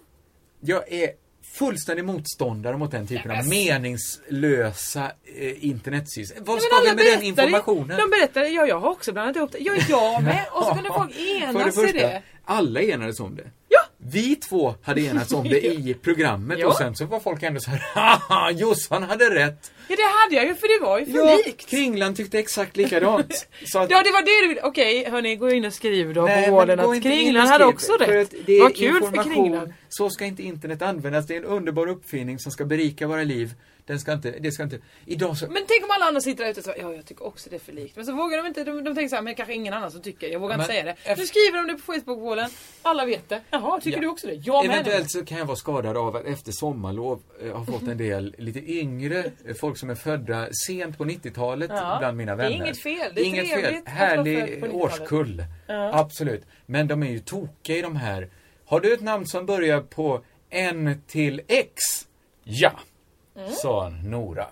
[SPEAKER 3] Jag är fullständig motståndare mot den typen av meningslösa eh, internetsys. Vad ska vi
[SPEAKER 4] alla
[SPEAKER 3] med den
[SPEAKER 4] berättar ju-
[SPEAKER 3] informationen?
[SPEAKER 4] De berättar, ja jag har också blandat ihop det. Ja, jag med. Och så kunde folk
[SPEAKER 3] För det
[SPEAKER 4] enas i
[SPEAKER 3] första,
[SPEAKER 4] det.
[SPEAKER 3] alla enades om det.
[SPEAKER 4] Ja.
[SPEAKER 3] Vi två hade enats om det i programmet
[SPEAKER 4] Ja.
[SPEAKER 3] och sen så var folk ändå så här, haha, Jossan hade rätt.
[SPEAKER 4] Ja det hade jag ju för det var ju för likt.
[SPEAKER 3] Kringlan tyckte exakt likadant. Så att
[SPEAKER 4] Ja det var det du ville. Okej hörni, gå in och skriv då
[SPEAKER 3] Nej,
[SPEAKER 4] på
[SPEAKER 3] men
[SPEAKER 4] wallen
[SPEAKER 3] gå
[SPEAKER 4] att
[SPEAKER 3] inte in och
[SPEAKER 4] Kringlan hade
[SPEAKER 3] skriv,
[SPEAKER 4] också
[SPEAKER 3] för
[SPEAKER 4] rätt.
[SPEAKER 3] att Det är
[SPEAKER 4] Vad kul för
[SPEAKER 3] information
[SPEAKER 4] Kringlan.
[SPEAKER 3] Så ska inte internet användas. Det är en underbar uppfinning som ska berika våra liv. Den ska inte, det ska inte... Idag så...
[SPEAKER 4] Men tänk om alla andra sitter där ute och säger ja jag tycker också det är för likt. Men så vågar de inte, de, de tänker såhär, men kanske ingen annan som tycker, jag vågar
[SPEAKER 3] Men
[SPEAKER 4] inte säga det.
[SPEAKER 3] efter-
[SPEAKER 4] Nu skriver de det på Facebook-vålen, alla vet det. Jaha, tycker
[SPEAKER 3] Ja.
[SPEAKER 4] du också det? Jag med.
[SPEAKER 3] Eventuellt så kan jag vara skadad av att efter sommarlov eh, ha fått en del lite yngre eh, folk som är födda sent på 90-talet
[SPEAKER 4] Ja,
[SPEAKER 3] bland mina
[SPEAKER 4] det är
[SPEAKER 3] vänner.
[SPEAKER 4] inget fel. Det är trevligt att vara född
[SPEAKER 3] Härlig
[SPEAKER 4] på 90-talet.
[SPEAKER 3] årskull. Absolut. Men de är ju tokiga i de här. Har du ett namn som börjar på N till X? Ja,
[SPEAKER 4] Mm.
[SPEAKER 3] sa Nora.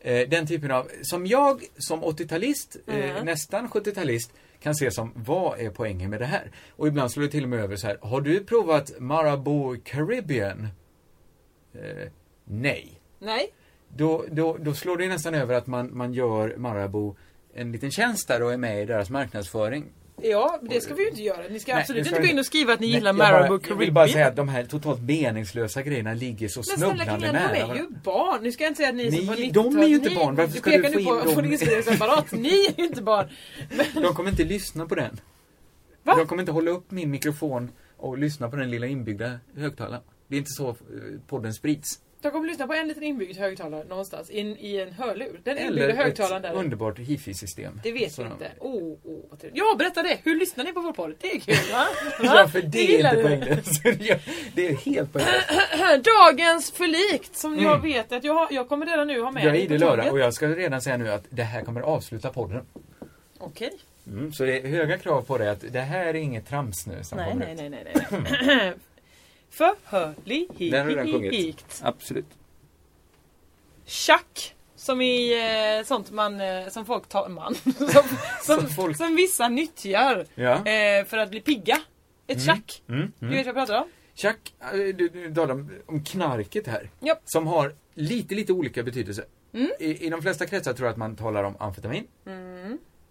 [SPEAKER 3] Eh, Den typen av, som jag som 80-talist, eh,
[SPEAKER 4] Mm.
[SPEAKER 3] nästan 70-talist, kan se som vad är poängen med det här? Och ibland slår det till och med över så här, har du provat Marabou Caribbean? Eh, nej
[SPEAKER 4] Nej.
[SPEAKER 3] då, då, då slår det nästan över att man, man gör Marabou en liten tjänst där och är med i deras marknadsföring.
[SPEAKER 4] Ja, det ska vi ju inte göra. Ni ska
[SPEAKER 3] Nej,
[SPEAKER 4] absolut
[SPEAKER 3] det
[SPEAKER 4] inte
[SPEAKER 3] ska
[SPEAKER 4] gå
[SPEAKER 3] vi-
[SPEAKER 4] in och skriva att ni gillar
[SPEAKER 3] jag bara-
[SPEAKER 4] Marabou
[SPEAKER 3] Jag vill bara
[SPEAKER 4] Caribbean.
[SPEAKER 3] säga att de här totalt meningslösa grejerna ligger så
[SPEAKER 4] Men snälla
[SPEAKER 3] snubblande
[SPEAKER 4] killar,
[SPEAKER 3] nära.
[SPEAKER 4] de är
[SPEAKER 3] varandra.
[SPEAKER 4] ju barn. Nu ska jag inte säga att ni, som
[SPEAKER 3] Ni-
[SPEAKER 4] var 90
[SPEAKER 3] de är ju inte barn. Varför ska du
[SPEAKER 4] pekar
[SPEAKER 3] få
[SPEAKER 4] nu på-
[SPEAKER 3] in
[SPEAKER 4] på
[SPEAKER 3] dem?
[SPEAKER 4] registreringsapparat. Ni är ju inte barn.
[SPEAKER 3] De kommer inte lyssna på den.
[SPEAKER 4] Va?
[SPEAKER 3] De kommer inte hålla upp min mikrofon och lyssna på den lilla inbyggda högtalaren. Det är inte så eh, podden sprids.
[SPEAKER 4] Jag kommer lyssna på en liten inbyggd högtalare någonstans in, i en hörlur. Den inbyggda
[SPEAKER 3] Eller ett
[SPEAKER 4] högtalaren där.
[SPEAKER 3] underbart hifi-system.
[SPEAKER 4] det vet vi
[SPEAKER 3] Som-
[SPEAKER 4] inte. Oh, oh, vad trevligt. Ja, berätta det! Hur lyssnar ni på vår podd? Det är kul va?
[SPEAKER 3] Ja, för det är
[SPEAKER 4] gillar
[SPEAKER 3] inte
[SPEAKER 4] du.
[SPEAKER 3] poänglöst. Det är helt poänglöst.
[SPEAKER 4] Dagens förlikt som jag vet att jag, har, jag kommer redan nu ha med
[SPEAKER 3] Mm. Jag är
[SPEAKER 4] mig på
[SPEAKER 3] idel öra
[SPEAKER 4] tåget.
[SPEAKER 3] och jag ska redan säga nu att det här kommer avsluta podden.
[SPEAKER 4] Okej.
[SPEAKER 3] Mm, så det är höga krav på det att det här är inget trams nu som
[SPEAKER 4] Nej,
[SPEAKER 3] kommer
[SPEAKER 4] nej,
[SPEAKER 3] ut.
[SPEAKER 4] nej, nej, nej.
[SPEAKER 3] Den har redan
[SPEAKER 4] Förhörligt.
[SPEAKER 3] sjungits. Absolut.
[SPEAKER 4] Tjack. Som i eh, sånt man, eh, som folk tar, man. Som, som, som,
[SPEAKER 3] folk-
[SPEAKER 4] vissa nyttjar
[SPEAKER 3] Ja.
[SPEAKER 4] eh, för att bli pigga. Ett tjack.
[SPEAKER 3] Mm,
[SPEAKER 4] Du vet vad jag pratar om?
[SPEAKER 3] Chuck, eh, du, du talar om, om knarket här.
[SPEAKER 4] Japp. Mm.
[SPEAKER 3] Som har lite, lite olika betydelse. I, I de flesta kretsar tror jag att man talar om amfetamin.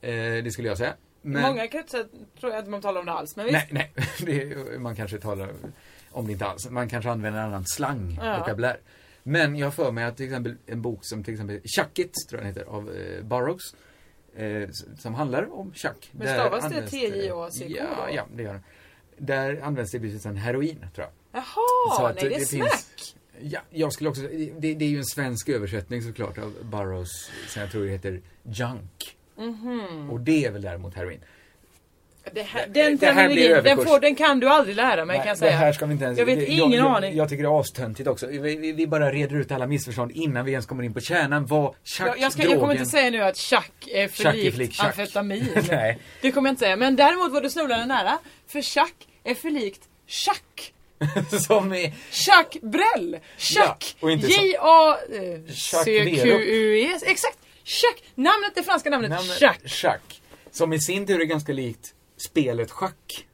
[SPEAKER 3] Eh, det skulle jag säga. Men,
[SPEAKER 4] I Mm. många kretsar tror jag inte man talar om det alls. Men visst.
[SPEAKER 3] Nej, nej. Det, är- man kanske talar om det inte alls. Man kanske använder en annan slang,
[SPEAKER 4] Ja.
[SPEAKER 3] vokabulär. Men jag har för mig att till exempel en bok som till exempel Chuck It, tror jag den heter, av eh, Burroughs. Eh, s- som handlar om Chuck.
[SPEAKER 4] Men
[SPEAKER 3] Där
[SPEAKER 4] stavas det
[SPEAKER 3] används
[SPEAKER 4] TJACK då?
[SPEAKER 3] Ja, ja, det gör det. Där används det betydelsen heroin, tror jag.
[SPEAKER 4] Jaha, nej det är snack.
[SPEAKER 3] Ja, jag skulle också det, det är ju en svensk översättning såklart av Burroughs, som jag tror det heter Junk.
[SPEAKER 4] Mhm.
[SPEAKER 3] Och det är väl däremot heroin.
[SPEAKER 4] Det här,
[SPEAKER 3] Det-
[SPEAKER 4] den
[SPEAKER 3] det här blir
[SPEAKER 4] terminologin, den,
[SPEAKER 3] överkurs.
[SPEAKER 4] får, den kan du aldrig lära
[SPEAKER 3] Nej,
[SPEAKER 4] mig kan jag säga.
[SPEAKER 3] Det här ska vi inte ens,
[SPEAKER 4] jag vet
[SPEAKER 3] det-
[SPEAKER 4] ingen
[SPEAKER 3] jag,
[SPEAKER 4] aning.
[SPEAKER 3] Jag, jag tycker det är astöntigt också. Vi, vi, vi bara reder ut alla missförstånd innan vi ens kommer in på kärnan. Vad tjack,
[SPEAKER 4] Jag, jag, ska, jag kommer inte säga nu att tjack är för
[SPEAKER 3] Tjack är för
[SPEAKER 4] likt
[SPEAKER 3] likt tjack.
[SPEAKER 4] amfetamin.
[SPEAKER 3] Nej.
[SPEAKER 4] Det kommer jag inte säga. Men däremot var du snubblande nära. För tjack är för likt tjack.
[SPEAKER 3] Som är
[SPEAKER 4] Chuck Brell! Chuck! eh,
[SPEAKER 3] Ja, och inte så-
[SPEAKER 4] J-A-C-Q-U-E-S. E Exakt! Chuck! Namnet, det franska namnet
[SPEAKER 3] namnet
[SPEAKER 4] Chuck.
[SPEAKER 3] Schack. Som i sin tur är ganska likt spelet schack.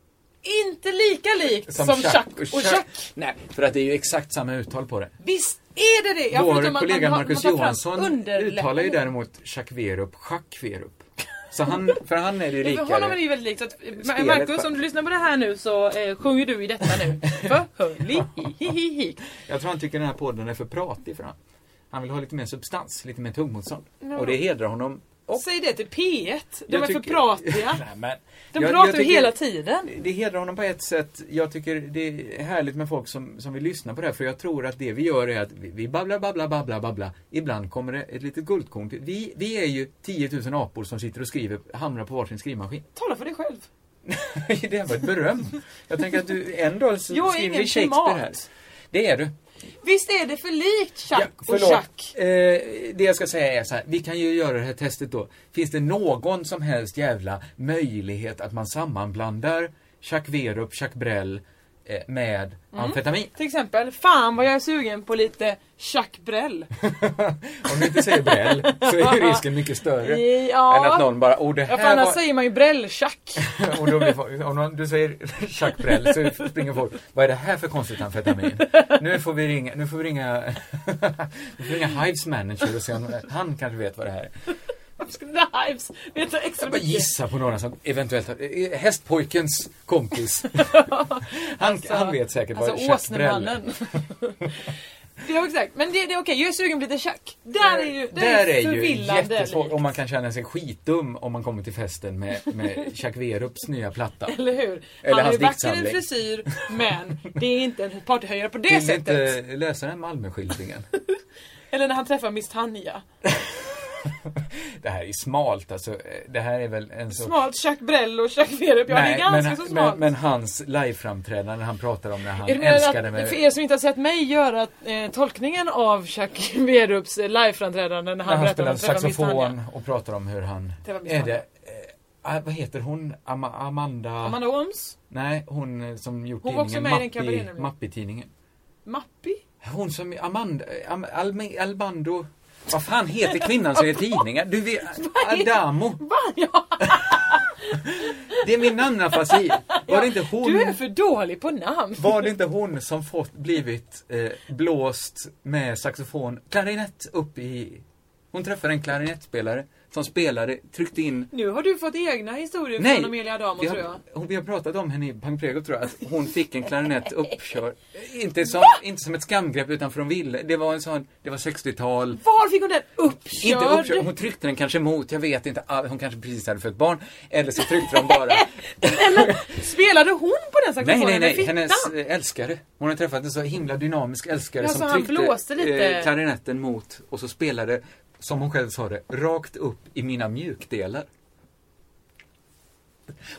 [SPEAKER 4] Inte lika likt som, Chuck, och Chuck.
[SPEAKER 3] Nej, för att det är ju exakt samma uttal på det.
[SPEAKER 4] Visst är det det? Ja,
[SPEAKER 3] Vår
[SPEAKER 4] förutom att
[SPEAKER 3] kollega
[SPEAKER 4] man har-
[SPEAKER 3] Marcus
[SPEAKER 4] man tar fram
[SPEAKER 3] Johansson
[SPEAKER 4] underläppen.
[SPEAKER 3] uttalar ju däremot Jacques Verup, Jacques Verup. Så han, för han är det ju
[SPEAKER 4] Ja, för honom är det
[SPEAKER 3] rikare.
[SPEAKER 4] ju väldigt likt. Så att, eh, Ma-
[SPEAKER 3] Spelet
[SPEAKER 4] Marcus,
[SPEAKER 3] schack.
[SPEAKER 4] om du lyssnar på det här nu så eh, sjunger du i detta nu. Förhörlig
[SPEAKER 3] Jag tror han tycker den här podden är för pratig för han. Han vill ha lite mer substans, lite mer tuggmotstånd. Och det hedrar honom. Och
[SPEAKER 4] Säg det till P1. De
[SPEAKER 3] Jag
[SPEAKER 4] är för
[SPEAKER 3] tycker-
[SPEAKER 4] pratiga.
[SPEAKER 3] Nej, men,
[SPEAKER 4] De
[SPEAKER 3] jag-
[SPEAKER 4] pratar
[SPEAKER 3] jag
[SPEAKER 4] ju
[SPEAKER 3] tycker-
[SPEAKER 4] hela tiden.
[SPEAKER 3] Det hedrar honom på ett sätt. Jag tycker det är härligt med folk som, som vill lyssna på det här. För jag tror att det vi gör är att vi, vi babblar, babblar, babblar, babblar. Ibland kommer det ett litet guldkorn. till. Vi, vi är ju 10 000 apor som sitter och skriver, hamnar på varsin skrivmaskin.
[SPEAKER 4] Tala för dig själv.
[SPEAKER 3] det var ett beröm. Jag tänker att du en dag så
[SPEAKER 4] Jag är
[SPEAKER 3] skriver
[SPEAKER 4] ingen
[SPEAKER 3] vi Shakespeare här.
[SPEAKER 4] primat.
[SPEAKER 3] Det är du.
[SPEAKER 4] Visst är det för likt
[SPEAKER 3] Ja,
[SPEAKER 4] Chuck och
[SPEAKER 3] förlåt.
[SPEAKER 4] Chuck?
[SPEAKER 3] Eh, det jag ska säga är så här, vi kan ju göra det här testet då. Finns det någon som helst jävla möjlighet att man sammanblandar Jacques Verup, Jacques Brel eh, med
[SPEAKER 4] Mm.
[SPEAKER 3] amfetamin?
[SPEAKER 4] Till exempel, fan vad jag är sugen på lite Chuck Brell.
[SPEAKER 3] Om du inte säger Brel så är ju risken mycket större.
[SPEAKER 4] Ja.
[SPEAKER 3] Än att någon bara, oh det
[SPEAKER 4] Ja, för
[SPEAKER 3] här
[SPEAKER 4] annars
[SPEAKER 3] var...
[SPEAKER 4] säger man ju Brell-Chuck.
[SPEAKER 3] Och då blir folk, om någon, du säger Jacques Brel så springer folk, vad är det här för konstigt amfetamin? Nu får vi ringa, nu får vi ringa, nu får vi ringa Hives manager och se om han kanske vet vad det här är.
[SPEAKER 4] Varför skulle det Hives veta extra
[SPEAKER 3] Jag bara
[SPEAKER 4] mycket?
[SPEAKER 3] gissa på några som eventuellt har, eh, hästpojkens kompis. han, han vet säkert
[SPEAKER 4] Alltså
[SPEAKER 3] vad Chuck Brell är.
[SPEAKER 4] Åsnemannen. Ja, exakt. Men det, det är okej, jag är sugen på lite tjack. Där är ju, där är ju förvillande.
[SPEAKER 3] jättesvårt
[SPEAKER 4] likt.
[SPEAKER 3] om man kan känna sig skitdum om man kommer till festen med, med Chuck Werups nya platta.
[SPEAKER 4] Eller hur?
[SPEAKER 3] Eller
[SPEAKER 4] han har ju
[SPEAKER 3] hans
[SPEAKER 4] vacker en
[SPEAKER 3] diktsamling.
[SPEAKER 4] frisyr, men det är inte en partyhöjare på det
[SPEAKER 3] Vill ni
[SPEAKER 4] sättet.
[SPEAKER 3] inte läsa den Malmöskildringen?
[SPEAKER 4] Eller när han träffar Miss Tanja.
[SPEAKER 3] Det här är smalt alltså. Det här är väl en sorts...
[SPEAKER 4] Smalt Chuck Brell och Chuck Werup. Ja, det är ganska
[SPEAKER 3] men,
[SPEAKER 4] så smalt.
[SPEAKER 3] men, men hans liveframträdande han pratar om när han
[SPEAKER 4] Är det mer
[SPEAKER 3] älskade
[SPEAKER 4] att,
[SPEAKER 3] mig.
[SPEAKER 4] för er som inte har sett mig göra eh, tolkningen av Chuck Werups eh, liveframträdande när
[SPEAKER 3] När
[SPEAKER 4] han,
[SPEAKER 3] han
[SPEAKER 4] berättar om
[SPEAKER 3] spelar
[SPEAKER 4] att träffa Miss
[SPEAKER 3] saxofon
[SPEAKER 4] Tanja.
[SPEAKER 3] och pratar om hur han...
[SPEAKER 4] Det var Miss
[SPEAKER 3] Är
[SPEAKER 4] Tanja.
[SPEAKER 3] det, eh, vad heter hon? Ama, Amanda...
[SPEAKER 4] Amanda Ooms,
[SPEAKER 3] Nej, hon eh, som gjort
[SPEAKER 4] Hon var också
[SPEAKER 3] tidningen
[SPEAKER 4] med i den kabarén,
[SPEAKER 3] Mappi,
[SPEAKER 4] nämligen.
[SPEAKER 3] Mappi-tidningen.
[SPEAKER 4] Mappi?
[SPEAKER 3] Hon som, Amanda, Am, Alme- Albando... Vad fan heter kvinnan som är tidningen? Du vet, Adamo.
[SPEAKER 4] Va? Ja,
[SPEAKER 3] Det är min namnafasi. Var det inte hon?
[SPEAKER 4] du är för dålig på namn.
[SPEAKER 3] Var det inte hon som fått, blivit eh, blåst med saxofon, klarinett upp i... Hon träffade en klarinettspelare som spelade, tryckte in...
[SPEAKER 4] Nu har du fått egna historier
[SPEAKER 3] Nej!
[SPEAKER 4] från Amelia Adamo
[SPEAKER 3] vi, har,
[SPEAKER 4] tror jag.
[SPEAKER 3] hon- vi har pratat om henne i Pang Prego tror jag, att hon fick en klarinett uppkörd. Inte som, inte som ett skamgrepp utan för hon ville. Det var en sån, det var 60-tal.
[SPEAKER 4] Var fick hon den uppkörd?
[SPEAKER 3] Inte uppkörd, hon tryckte den kanske mot, jag vet inte, all- hon kanske precis hade fött barn. Eller så tryckte de bara.
[SPEAKER 4] Spelade hon på den saxofonen
[SPEAKER 3] Nej, nej,
[SPEAKER 4] i
[SPEAKER 3] nej.
[SPEAKER 4] fittan?
[SPEAKER 3] Hennes eh, älskare. Hon har träffat en så himla dynamisk älskare
[SPEAKER 4] Ja, så
[SPEAKER 3] som
[SPEAKER 4] han
[SPEAKER 3] tryckte
[SPEAKER 4] blåste lite.
[SPEAKER 3] eh, klarinetten mot och så spelade, som hon själv sa det, rakt upp i mina mjukdelar.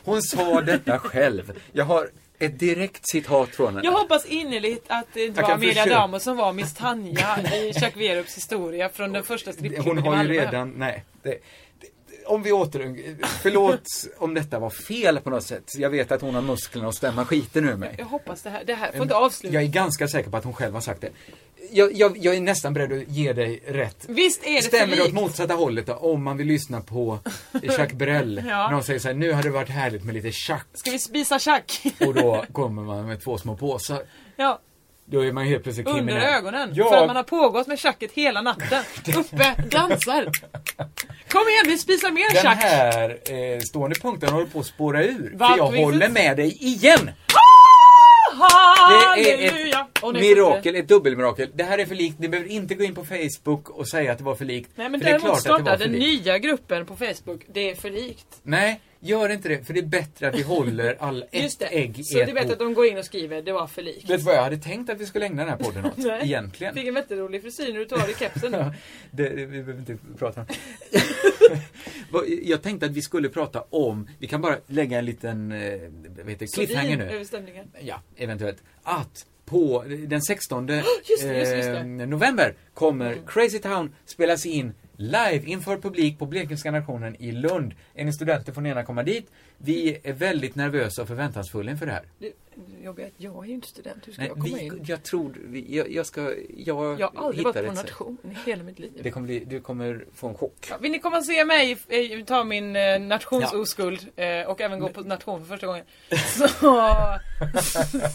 [SPEAKER 3] Hon sa detta själv. Jag har ett direkt citat från henne.
[SPEAKER 4] Jag hoppas innerligt att det inte
[SPEAKER 3] Jag
[SPEAKER 4] var
[SPEAKER 3] kan
[SPEAKER 4] Amelia
[SPEAKER 3] försöka.
[SPEAKER 4] Damo som var Miss Tanja i Chuck Werups historia från den första
[SPEAKER 3] Hon
[SPEAKER 4] strippklubben i
[SPEAKER 3] har ju
[SPEAKER 4] Malmö.
[SPEAKER 3] redan, nej. Det, det- om vi åter... Förlåt om detta var fel på något sätt. Jag vet att hon har musklerna att stämma skiten ur mig.
[SPEAKER 4] Jag hoppas det här, det här får inte avslutas.
[SPEAKER 3] Jag är ganska säker på att hon själv har sagt det. Jag, jag, jag är nästan beredd att ge dig rätt.
[SPEAKER 4] Visst är det
[SPEAKER 3] Stämmer
[SPEAKER 4] för
[SPEAKER 3] åt
[SPEAKER 4] likt?
[SPEAKER 3] motsatta hållet då, om man vill lyssna på Jacques Brel.
[SPEAKER 4] Ja.
[SPEAKER 3] När de säger så här, nu hade det varit härligt med lite tjack.
[SPEAKER 4] Ska vi spisa Chuck?
[SPEAKER 3] Och då kommer man med två små påsar.
[SPEAKER 4] ja.
[SPEAKER 3] Då är man ju helt plötsligt
[SPEAKER 4] Under
[SPEAKER 3] kriminell.
[SPEAKER 4] ögonen.
[SPEAKER 3] Ja.
[SPEAKER 4] För att man har pågått med tjacket hela natten. Uppe, dansar. Kom igen, vi spisar mer
[SPEAKER 3] Den
[SPEAKER 4] tjack.
[SPEAKER 3] här eh, stående punkten håller på att spåra ur.
[SPEAKER 4] Vart
[SPEAKER 3] för jag
[SPEAKER 4] vi inte-
[SPEAKER 3] håller med dig igen! Det är ett
[SPEAKER 4] Halleluja! Och nu sitter
[SPEAKER 3] mirakel, ett dubbelmirakel. Det här är för likt, ni behöver inte gå in på Facebook och säga att det var för likt.
[SPEAKER 4] Nej men
[SPEAKER 3] för det är klart
[SPEAKER 4] däremot
[SPEAKER 3] att det var
[SPEAKER 4] starta
[SPEAKER 3] för
[SPEAKER 4] den
[SPEAKER 3] likt.
[SPEAKER 4] nya gruppen på Facebook. Det är för likt.
[SPEAKER 3] Nej, gör inte det. För det är bättre att vi håller all
[SPEAKER 4] Just
[SPEAKER 3] ett
[SPEAKER 4] det.
[SPEAKER 3] ägg i
[SPEAKER 4] så
[SPEAKER 3] ett
[SPEAKER 4] du vet
[SPEAKER 3] bo.
[SPEAKER 4] att de går in och skriver det var för likt.
[SPEAKER 3] Vet du vad jag hade tänkt att vi skulle ägna den här podden åt?
[SPEAKER 4] Nej.
[SPEAKER 3] Egentligen.
[SPEAKER 4] Fick en jätterolig frisyr när du tog av dig kepsen nu.
[SPEAKER 3] Det, det, vi behöver inte prata om. Vad- jag tänkte att vi skulle prata om, vi kan bara lägga en liten, eh, vad heter det, cliffhanger
[SPEAKER 4] Sordin
[SPEAKER 3] nu.
[SPEAKER 4] över stämningen.
[SPEAKER 3] Ja, eventuellt. Att på den 16
[SPEAKER 4] just det, just det.
[SPEAKER 3] eh, november kommer Crazy Town spelas in live inför publik på Blekingska nationen i Lund. Är ni studenter får ni gärna komma dit. Vi är väldigt nervösa och förväntansfulla inför det här.
[SPEAKER 4] Det det jobbiga är att jag är ju inte student. Hur ska
[SPEAKER 3] Nej,
[SPEAKER 4] jag komma
[SPEAKER 3] vi,
[SPEAKER 4] in?
[SPEAKER 3] jag tror, vi- jag, jag ska, jag,
[SPEAKER 4] Jag har aldrig
[SPEAKER 3] hittar
[SPEAKER 4] varit på
[SPEAKER 3] ett
[SPEAKER 4] en
[SPEAKER 3] sätt.
[SPEAKER 4] nation i hela mitt liv.
[SPEAKER 3] Det kommer bli, du kommer få en chock.
[SPEAKER 4] Ja, vill ni komma och se mig eh, ta min eh, nationsoskuld eh, och även gå på nation för första gången. Så,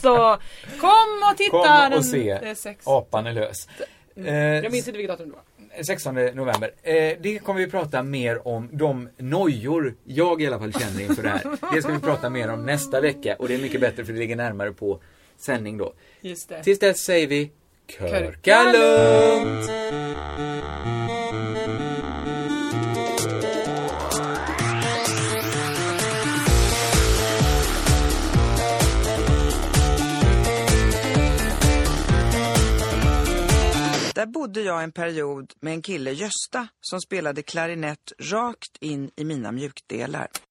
[SPEAKER 4] så kom och titta!
[SPEAKER 3] Kom
[SPEAKER 4] den-
[SPEAKER 3] och se.
[SPEAKER 4] eh, sex.
[SPEAKER 3] Apan är lös.
[SPEAKER 4] Mm. Jag minns
[SPEAKER 3] Eh,
[SPEAKER 4] inte vilket datum det var.
[SPEAKER 3] 16 november. Eh, det kommer vi prata mer om, de nojor jag i alla fall känner inför det här. Det ska vi prata mer om nästa vecka och det är mycket bättre för det ligger närmare på sändning då.
[SPEAKER 4] Just det.
[SPEAKER 3] Tills dess säger vi Körka lugnt!
[SPEAKER 5] Där bodde jag en period med en kille, Gösta, som spelade klarinett rakt in i mina mjukdelar.